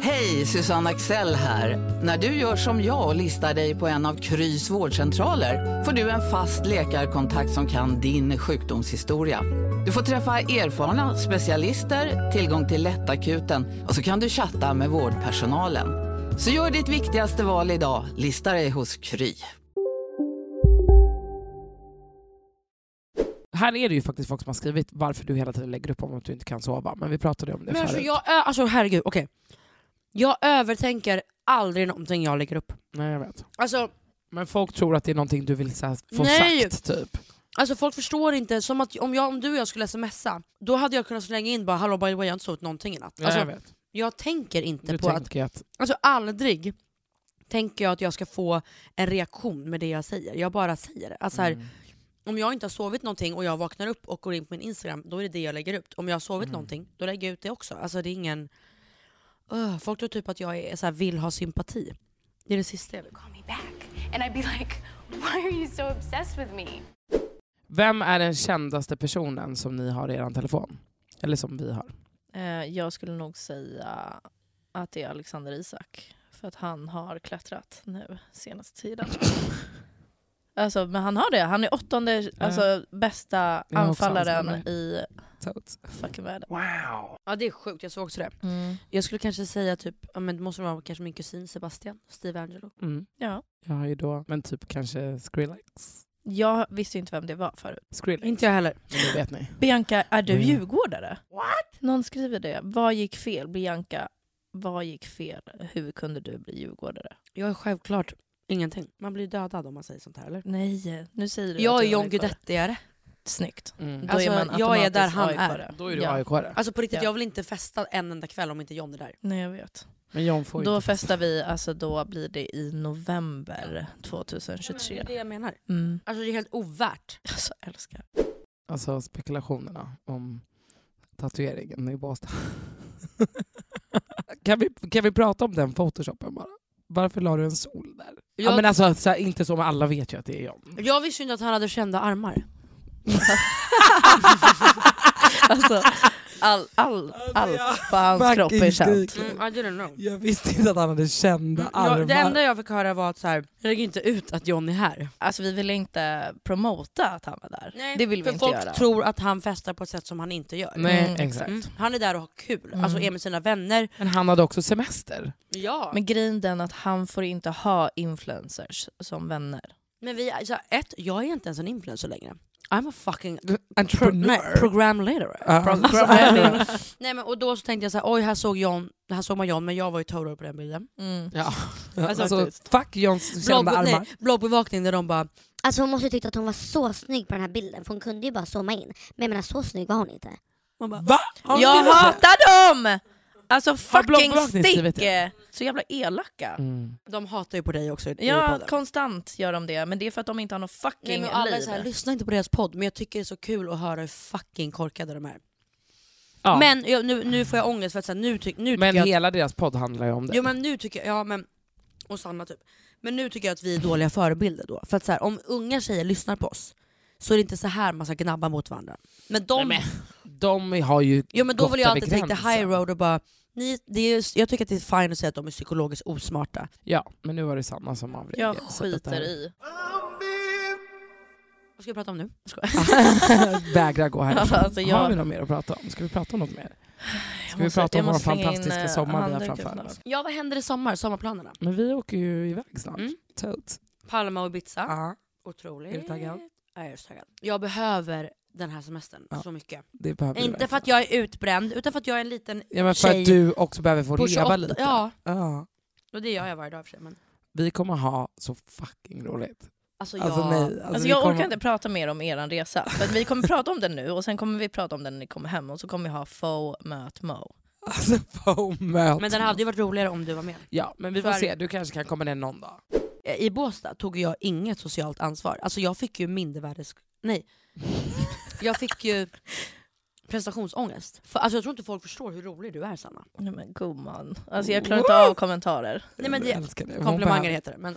[SPEAKER 10] Hej, Susanne Axel här. När du gör som jag och listar dig på en av Krys vårdcentraler får du en fast läkarkontakt som kan din sjukdomshistoria. Du får träffa erfarna specialister, tillgång till lättakuten och så kan du chatta med vårdpersonalen. Så gör ditt viktigaste val idag, listar dig hos Kry.
[SPEAKER 3] Här är det ju faktiskt folk som har skrivit varför du hela tiden lägger upp om att du inte kan sova. Men vi pratade om det
[SPEAKER 4] Men alltså,
[SPEAKER 3] förut.
[SPEAKER 4] jag, ö- alltså herregud, okej. Jag övertänker aldrig någonting jag lägger upp.
[SPEAKER 3] Nej, jag vet.
[SPEAKER 4] Alltså,
[SPEAKER 3] Men folk tror att det är någonting du vill så här, få
[SPEAKER 4] Nej!
[SPEAKER 3] sagt typ.
[SPEAKER 4] Alltså folk förstår inte, som att om, jag, om du och jag skulle smsa, då hade jag kunnat slänga in bara “Hallå by the way, jag har inte sovit någonting i natt”.
[SPEAKER 3] Ja,
[SPEAKER 4] Alltså,
[SPEAKER 3] jag vet.
[SPEAKER 4] jag tänker inte
[SPEAKER 3] Du
[SPEAKER 4] på att...
[SPEAKER 3] tänker att...
[SPEAKER 4] Alltså aldrig tänker jag att jag ska få en reaktion med det jag säger. Jag bara säger det. Alltså, här,
[SPEAKER 3] Mm.
[SPEAKER 4] Om jag inte har sovit någonting och jag vaknar upp och går in på min Instagram, då är det det jag lägger ut. Om jag har sovit
[SPEAKER 3] Mm.
[SPEAKER 4] någonting, då lägger jag ut det också. Alltså det är ingen... Öh, folk tror typ att jag är, så här, vill ha sympati. Det är det sista jag vill ha.
[SPEAKER 11] And I'd be like, why are you so obsessed with me?
[SPEAKER 3] Vem är den kändaste personen som ni har i er telefon? Eller som vi har?
[SPEAKER 1] Eh, jag skulle nog säga att det är Alexander Isak. För att han har klättrat nu senaste tiden. alltså, men han har det. Han är åttonde, alltså bästa
[SPEAKER 4] Jag har också
[SPEAKER 1] anfallaren
[SPEAKER 4] Alexander.
[SPEAKER 1] i fucking världen.
[SPEAKER 3] Wow!
[SPEAKER 4] Ja det är sjukt, jag såg också det.
[SPEAKER 1] Mm.
[SPEAKER 4] Jag skulle kanske säga typ, ja, men det måste vara kanske min kusin Sebastian, Steve Angelo.
[SPEAKER 3] Mm.
[SPEAKER 1] Ja.
[SPEAKER 3] Jag har ju då, men typ kanske Skrillex.
[SPEAKER 1] Jag visste ju inte vem det var förut.
[SPEAKER 3] Skrillex.
[SPEAKER 4] Inte jag heller.
[SPEAKER 3] Men nu vet ni.
[SPEAKER 1] Bianca, är du
[SPEAKER 3] Mm.
[SPEAKER 1] djurgårdare? What? Någon skriver det. Vad gick fel? Bianca, vad gick fel? Hur kunde du bli djurgårdare?
[SPEAKER 4] Jag är självklart ingenting. Man blir dödad om man säger sånt här eller?
[SPEAKER 1] Nej, nu säger du att
[SPEAKER 4] Jag är
[SPEAKER 1] du
[SPEAKER 4] John
[SPEAKER 1] AIK-are.
[SPEAKER 4] Guidetti-are.
[SPEAKER 1] Snyggt.
[SPEAKER 3] Mm.
[SPEAKER 1] Då är man
[SPEAKER 4] Alltså, jag är där
[SPEAKER 1] automatiskt
[SPEAKER 4] han
[SPEAKER 1] AIK-are.
[SPEAKER 4] är.
[SPEAKER 3] Då är du Ja. AIK-are.
[SPEAKER 4] Alltså på riktigt,
[SPEAKER 1] Ja.
[SPEAKER 4] jag vill inte festa en enda kväll om inte John är där.
[SPEAKER 1] Nej, jag vet.
[SPEAKER 3] Men John får ju
[SPEAKER 1] Då
[SPEAKER 3] inte...
[SPEAKER 1] festar vi, alltså då blir det i november
[SPEAKER 4] Det
[SPEAKER 1] 2023.
[SPEAKER 4] är det jag menar.
[SPEAKER 1] Mm.
[SPEAKER 4] Alltså det är helt ovärt.
[SPEAKER 1] Alltså älskar.
[SPEAKER 3] Alltså spekulationerna om tatueringen i Båstad. kan, vi, kan vi prata om den photoshopen bara? Varför la du en sol där? Ja,
[SPEAKER 4] Jag-
[SPEAKER 3] men alltså, så här, inte så, men alla vet ju att det är John.
[SPEAKER 4] Jag visste ju inte att han hade kända armar.
[SPEAKER 1] alltså, all, all,
[SPEAKER 3] Alltså,
[SPEAKER 1] allt på hans kropp är känt.
[SPEAKER 4] Mm, I didn't know.
[SPEAKER 3] Jag visste inte att han hade kända armar.
[SPEAKER 4] Jag, det enda jag fick höra var att så här, jag lägger inte ut att John är här.
[SPEAKER 1] Alltså vi ville inte promota att han var där.
[SPEAKER 4] Nej,
[SPEAKER 1] det vill vi
[SPEAKER 4] för
[SPEAKER 1] inte
[SPEAKER 4] folk
[SPEAKER 1] göra.
[SPEAKER 4] tror att han festar på ett sätt som han inte gör.
[SPEAKER 3] Nej, Mm, exakt.
[SPEAKER 4] Han är där och har kul,
[SPEAKER 1] Mm.
[SPEAKER 4] alltså är med sina vänner.
[SPEAKER 3] Men han hade också semester.
[SPEAKER 4] Ja.
[SPEAKER 1] Men grejen är den att han får inte ha influencers som vänner.
[SPEAKER 4] Men vi, alltså, ett, jag är inte ens en influencer längre. I'm a fucking
[SPEAKER 3] Mm. entreprenör.
[SPEAKER 4] nej, program Alltså, later.
[SPEAKER 3] Ja. Alltså,
[SPEAKER 4] nej, men, och då så tänkte jag så här, oj här såg, John, här såg man John, men jag var ju total på den bilden.
[SPEAKER 1] Mm.
[SPEAKER 3] Ja.
[SPEAKER 4] Alltså,
[SPEAKER 3] Alltså,
[SPEAKER 4] faktiskt.
[SPEAKER 3] fuck Johns
[SPEAKER 4] Blogg,
[SPEAKER 3] kända
[SPEAKER 4] nej,
[SPEAKER 3] armar.
[SPEAKER 4] bloggbevakning där de bara,
[SPEAKER 12] Alltså hon måste ju tyckt att hon var så snygg på den här bilden för hon kunde ju bara zooma in. Men jag menar så snygg var hon inte.
[SPEAKER 4] Man bara,
[SPEAKER 3] Va?
[SPEAKER 12] Har
[SPEAKER 1] Jag
[SPEAKER 12] ni-
[SPEAKER 1] hatar dem! Alltså fucking
[SPEAKER 4] bloggbevakning skrivit
[SPEAKER 1] stick! Så jävla elaka.
[SPEAKER 3] Mm,
[SPEAKER 4] de hatar ju på dig också i i
[SPEAKER 1] Ja,
[SPEAKER 4] podden.
[SPEAKER 1] konstant gör de det, men det är för att de inte har något
[SPEAKER 4] Nej,
[SPEAKER 1] fucking
[SPEAKER 4] men alla är så här,
[SPEAKER 1] liv.
[SPEAKER 4] lyssna inte på deras podd, men jag tycker det är så kul att höra hur fucking korkade de är.
[SPEAKER 3] Ja.
[SPEAKER 4] Men jag, nu, nu får jag ångest för att så här, nu, tyck- nu
[SPEAKER 3] Men
[SPEAKER 4] tycker jag...
[SPEAKER 3] hela deras podd handlar ju om det.
[SPEAKER 4] Jo men nu tycker jag, ja men, och Sanna typ. Men nu tycker jag att vi är dåliga förebilder då. För att så här, om unga tjejer lyssnar på oss så är det inte så här man ska gnabba mot varandra. Men de,
[SPEAKER 3] Nej, men, de har ju
[SPEAKER 4] jo, men då
[SPEAKER 3] gått
[SPEAKER 4] vill jag
[SPEAKER 3] över
[SPEAKER 4] alltid take the
[SPEAKER 3] gränsen.
[SPEAKER 4] high road och bara, ni, det är, ju- jag tycker att det är fine att säga att de är psykologiskt osmarta.
[SPEAKER 3] Ja, men nu var det Sanna som avvek.
[SPEAKER 1] Jag skiter i.
[SPEAKER 4] Vad ska vi prata om nu? Jag skojar.
[SPEAKER 3] Vägrar gå härifrån.
[SPEAKER 1] Ja, alltså jag-
[SPEAKER 3] Har vi något mer att prata om? Ska vi prata om något mer? Ska vi
[SPEAKER 1] måste-
[SPEAKER 3] prata
[SPEAKER 1] jag
[SPEAKER 3] om vår
[SPEAKER 1] måste slänga in,
[SPEAKER 3] fantastiska
[SPEAKER 1] eh,
[SPEAKER 3] sommar vi har
[SPEAKER 1] handduken
[SPEAKER 3] framför
[SPEAKER 1] snart.
[SPEAKER 3] oss?
[SPEAKER 4] Ja vad händer i sommar? Sommarplanerna?
[SPEAKER 3] Men vi åker ju iväg snart.
[SPEAKER 4] Mm.
[SPEAKER 3] Totes.
[SPEAKER 4] Palma och Ibiza.
[SPEAKER 3] Ja.
[SPEAKER 4] Otroligt.
[SPEAKER 3] Är du taggad?
[SPEAKER 4] Ja, jag är så taggad. Jag behöver den här semestern så mycket.
[SPEAKER 3] Det behöver du
[SPEAKER 4] Inte
[SPEAKER 3] verkligen.
[SPEAKER 4] för att jag är utbränd, utan för att jag är en liten
[SPEAKER 3] Ja, men för
[SPEAKER 4] tjej.
[SPEAKER 3] att du också behöver få
[SPEAKER 4] på
[SPEAKER 3] leva
[SPEAKER 4] 28
[SPEAKER 3] lite.
[SPEAKER 4] Ja,
[SPEAKER 3] Ja.
[SPEAKER 4] och det gör jag varje dag i och för sig. Men...
[SPEAKER 3] Vi kommer ha så fucking roligt.
[SPEAKER 4] Alltså,
[SPEAKER 3] Alltså,
[SPEAKER 4] jag...
[SPEAKER 3] nej, alltså,
[SPEAKER 1] Alltså
[SPEAKER 3] vi
[SPEAKER 1] jag
[SPEAKER 3] kommer-
[SPEAKER 1] orkar inte prata mer om er resa. För att vi kommer prata om den nu och sen kommer vi prata om den när ni kommer hem och så kommer vi ha faux möt mo.
[SPEAKER 3] Omöjligt.
[SPEAKER 4] Men den hade ju varit roligare om du var med.
[SPEAKER 3] Alltså, Ja, men vi får
[SPEAKER 4] För-
[SPEAKER 3] se. Du kanske kan komma ner någon dag.
[SPEAKER 4] I Båstad tog jag inget socialt ansvar. Alltså jag fick ju mindervärdes... Nej. Jag fick ju prestationsångest. För, alltså, jag tror inte folk förstår hur rolig du är Sanna.
[SPEAKER 1] Nej men gumman. Alltså jag klarar inte av kommentarer.
[SPEAKER 4] Nej, men det- Jag älskar det. Hon komplimanger bara- heter det, men-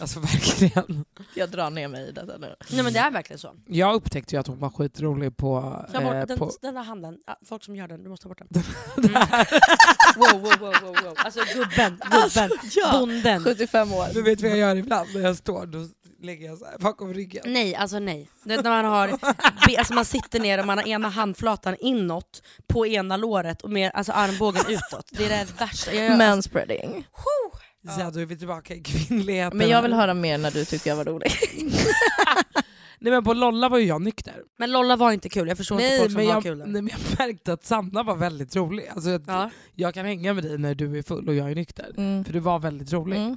[SPEAKER 3] Alltså verkligen.
[SPEAKER 1] Jag drar ner mig i detta nu.
[SPEAKER 4] Nej men det är verkligen så.
[SPEAKER 3] Jag upptäckte ju att hon var skitrolig på...
[SPEAKER 4] Ta bort
[SPEAKER 3] eh,
[SPEAKER 4] den,
[SPEAKER 3] på
[SPEAKER 4] den där handen. Ah, Folk som gör den, du måste ta bort den. Mm. wow, wow, wow, wow, wow. Alltså gubben, gubben,
[SPEAKER 3] Alltså,
[SPEAKER 4] bonden.
[SPEAKER 1] 75 år.
[SPEAKER 3] Du vet vad jag gör ibland när jag står? Då lägger jag så här bakom ryggen.
[SPEAKER 4] Nej, alltså nej. Det är när man, har, be- alltså man sitter ner och man har ena handflatan inåt på ena låret och med, alltså armbågen utåt. Det är det värsta. Jag gör- alltså-
[SPEAKER 1] alltså, Manspreading.
[SPEAKER 3] Så då är vi tillbaka i kvinnligheten.
[SPEAKER 1] Men jag vill höra mer när du tyckte jag var rolig.
[SPEAKER 3] Nej men på Lolla var ju jag nykter.
[SPEAKER 4] Men Lolla var inte kul, jag förstår inte folk som
[SPEAKER 3] men
[SPEAKER 4] har
[SPEAKER 3] jag,
[SPEAKER 4] kul.
[SPEAKER 3] Nej men jag märkte att Sanna var väldigt rolig. Alltså, att Jag kan hänga med dig när du är full och jag är nykter.
[SPEAKER 4] Mm.
[SPEAKER 1] Mm.
[SPEAKER 3] För du var väldigt rolig.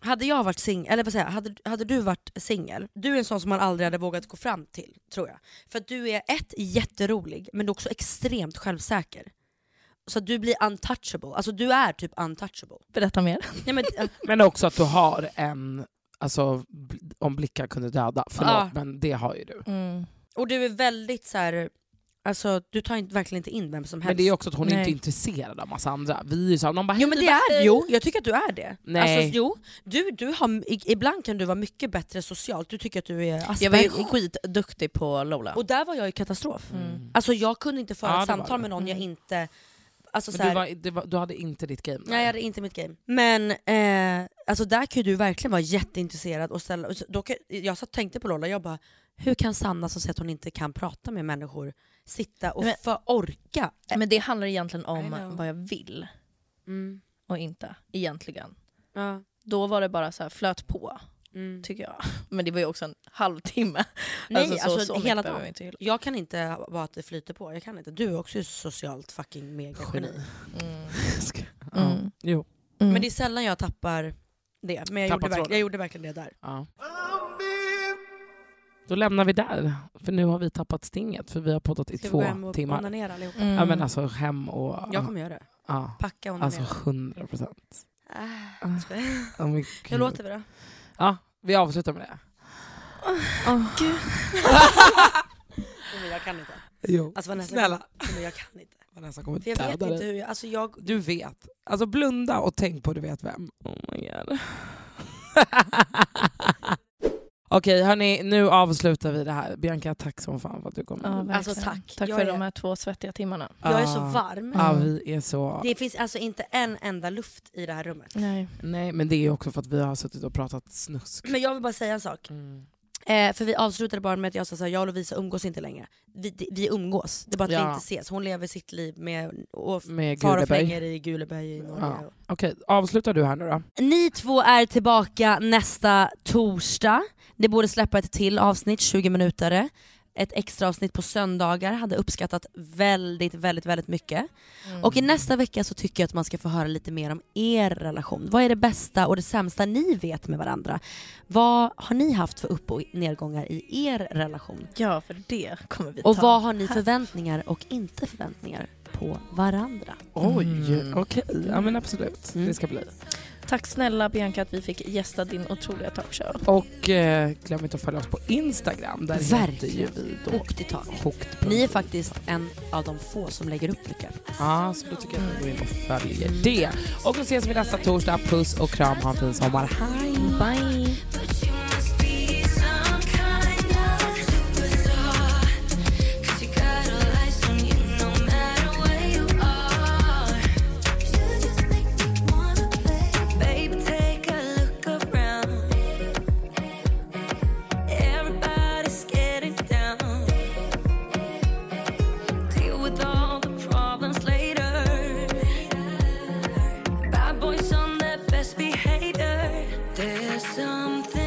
[SPEAKER 4] Hade jag varit singel, eller vad säger jag, hade, hade du varit singel, du är en sån som man aldrig hade vågat gå fram till, tror jag. För att du är ett, jätterolig, men du är också extremt självsäker. Så att du blir untouchable, alltså du är typ untouchable.
[SPEAKER 1] Berätta mer.
[SPEAKER 4] Nej, men, eh,
[SPEAKER 3] Men också att du har en, alltså bl- om blickar kunde döda, förlåt
[SPEAKER 4] Ja.
[SPEAKER 3] men det har ju du.
[SPEAKER 1] mm.
[SPEAKER 4] Och du är väldigt så här. Alltså du tar inte, verkligen inte in vem som helst.
[SPEAKER 3] Men det är också att hon
[SPEAKER 4] Nej.
[SPEAKER 3] inte är intresserad av massa andra. Vi är ju såhär, någon bara
[SPEAKER 4] Jo men
[SPEAKER 3] "Hej,
[SPEAKER 4] det
[SPEAKER 3] bara,
[SPEAKER 4] är,
[SPEAKER 3] hej."
[SPEAKER 4] jo jag tycker att du är det.
[SPEAKER 3] Nej.
[SPEAKER 4] Alltså, jo, du, du har, i- ibland kan du vara mycket bättre socialt, du tycker att du är
[SPEAKER 1] Jag var ju
[SPEAKER 4] Asperger.
[SPEAKER 1] skitduktig på Lola. Mm.
[SPEAKER 4] Och där var jag i katastrof.
[SPEAKER 3] Mm.
[SPEAKER 4] Alltså jag kunde inte föra
[SPEAKER 3] Ja,
[SPEAKER 4] ett
[SPEAKER 3] det var
[SPEAKER 4] samtal
[SPEAKER 3] det.
[SPEAKER 4] med någon jag inte... Alltså, så
[SPEAKER 3] Men
[SPEAKER 4] här,
[SPEAKER 3] du, var, det var, du hade inte ditt game där.
[SPEAKER 4] Nej jag hade inte mitt game. Men eh, alltså där kan ju du verkligen vara jätteintresserad och ställa... Och så- då kan, jag satt och tänkte på Lola, jag bara hur kan Sanna som säger att hon inte kan prata med människor sitta och
[SPEAKER 1] Men-
[SPEAKER 4] få orka?
[SPEAKER 1] Men det handlar egentligen
[SPEAKER 4] I
[SPEAKER 1] om
[SPEAKER 4] know.
[SPEAKER 1] vad jag vill
[SPEAKER 4] Mm.
[SPEAKER 1] och inte, egentligen.
[SPEAKER 4] Ja.
[SPEAKER 1] Då var det bara så här flöt på,
[SPEAKER 4] Mm.
[SPEAKER 1] tycker jag. Men det var ju också en halvtimme.
[SPEAKER 4] Nej,
[SPEAKER 1] så-
[SPEAKER 4] alltså,
[SPEAKER 1] så mycket
[SPEAKER 4] hela
[SPEAKER 1] behöver
[SPEAKER 4] dagen.
[SPEAKER 1] vi inte hylla.
[SPEAKER 4] jag kan inte vara att det flyter på. Jag kan inte. Du är också ett socialt fucking megageni.
[SPEAKER 3] Ja.
[SPEAKER 4] Mm.
[SPEAKER 3] Jo.
[SPEAKER 4] Men det är sällan jag tappar det. Men jag,
[SPEAKER 3] Tappar
[SPEAKER 4] gjorde, verk-
[SPEAKER 3] tråden.
[SPEAKER 4] jag gjorde verkligen det där.
[SPEAKER 3] Ja. Då lämnar vi där, för nu har vi tappat stinget för vi har poddat i
[SPEAKER 4] Ska vi
[SPEAKER 3] två
[SPEAKER 4] gå hem och
[SPEAKER 3] timmar.
[SPEAKER 4] onanera allihopa?
[SPEAKER 3] Ja
[SPEAKER 4] Mm.
[SPEAKER 3] men alltså hem och...
[SPEAKER 4] Jag kommer göra det.
[SPEAKER 3] Ja.
[SPEAKER 4] Packa och onanera.
[SPEAKER 3] Alltså 100 procent.
[SPEAKER 4] Ah, skojar.
[SPEAKER 3] Oh my
[SPEAKER 4] Hur
[SPEAKER 3] God.
[SPEAKER 4] låter vi då?
[SPEAKER 3] Ja, vi avslutar med det.
[SPEAKER 4] Gud. Nej, men jag kan inte.
[SPEAKER 3] Jo.
[SPEAKER 4] Alltså, Vanessa,
[SPEAKER 3] Snälla.
[SPEAKER 4] Nej, men jag kan inte.
[SPEAKER 3] Vanessa kommer
[SPEAKER 4] För jag vet
[SPEAKER 3] döda
[SPEAKER 4] inte
[SPEAKER 3] dig.
[SPEAKER 4] hur jag... Alltså jag...
[SPEAKER 3] Du vet. Alltså blunda och tänk på du vet vem. Oh my god. Okej hörni, nu avslutar vi det här. Bianca, tack som fan för att du kom.
[SPEAKER 1] Ja, verkligen.
[SPEAKER 4] Alltså, tack.
[SPEAKER 1] Tack
[SPEAKER 4] Jag
[SPEAKER 1] för
[SPEAKER 4] är-
[SPEAKER 1] de här två svettiga timmarna.
[SPEAKER 4] Jag är så
[SPEAKER 3] Ja.
[SPEAKER 4] varm.
[SPEAKER 3] Ah. Ja, vi är så...
[SPEAKER 4] Det finns alltså inte en enda luft i det här rummet.
[SPEAKER 1] Nej.
[SPEAKER 3] Nej, men det är ju också för att vi har suttit och pratat snusk. Mm.
[SPEAKER 4] Men jag vill bara säga en sak. Eh, för vi avslutade bara med att jag sa såhär, jag och Lovisa umgås inte längre. Vi, det- vi umgås, det är bara att vi
[SPEAKER 3] Ja.
[SPEAKER 4] inte ses. Hon lever sitt liv med, och
[SPEAKER 3] Med
[SPEAKER 4] far och
[SPEAKER 3] Guleberg.
[SPEAKER 4] flänger i Guleberg i Norge.
[SPEAKER 3] Ja. Okej, avslutar du här nu då.
[SPEAKER 4] Ni två är tillbaka nästa torsdag. Det borde släppa ett till avsnitt, 20 minuter. Ett extra avsnitt på söndagar hade uppskattat väldigt, väldigt, väldigt mycket.
[SPEAKER 3] Mm.
[SPEAKER 4] Och i nästa vecka så tycker jag att man ska få höra lite mer om er relation. Vad är det bästa och det sämsta ni vet med varandra? Vad har ni haft för upp och nedgångar i er relation?
[SPEAKER 1] Ja, för det kommer vi
[SPEAKER 4] Och
[SPEAKER 1] ta.
[SPEAKER 4] vad har ni förväntningar och inte förväntningar på varandra?
[SPEAKER 3] Oj, Mm. okej. Ja Mm. men absolut, det ska bli.
[SPEAKER 1] Tack snälla Bianca att vi fick gästa din otroliga talkshow.
[SPEAKER 3] Och eh, glöm inte att följa oss på Instagram. Där heter ju
[SPEAKER 4] Verkligen.
[SPEAKER 3] vi då.
[SPEAKER 4] Högt i tak. Ni är faktiskt en av de få som lägger upp mycket.
[SPEAKER 3] Ja, så då tycker jag att ni går in och följer det. Och då ses vi nästa torsdag. Puss och kram, ha en fin sommar. Hej!
[SPEAKER 1] Bye.
[SPEAKER 6] But you must be some kind of superstar. 'Cause you got all eyes on you no matter where you are. You just make me wanna play. Baby, take a look around. Everybody's getting down. Deal with all the problems later. Bad boys on their best behavior. There's something.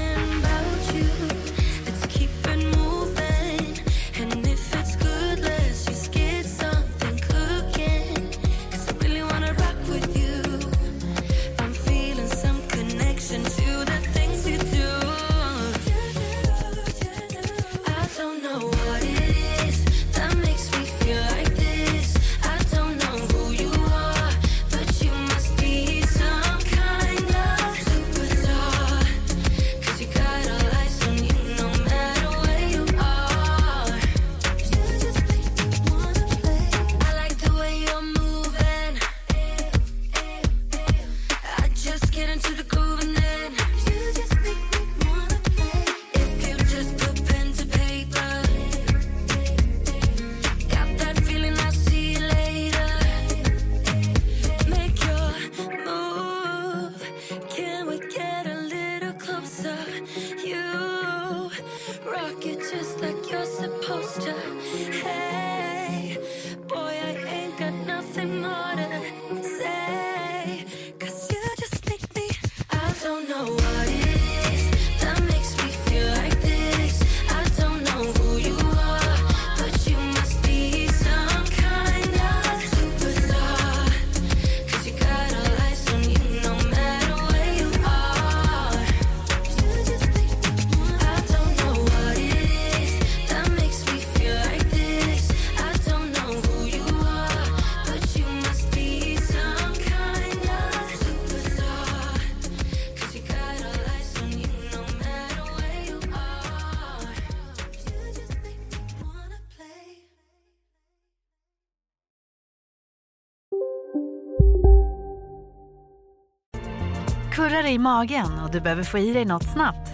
[SPEAKER 6] Kurrar i magen och du behöver få i dig något snabbt?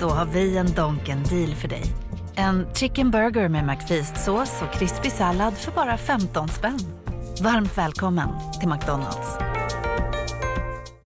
[SPEAKER 6] Då har vi en Donken deal för dig. En chicken burger med McFeast-sås och krispig sallad för bara 15 spänn. Varmt välkommen till McDonalds.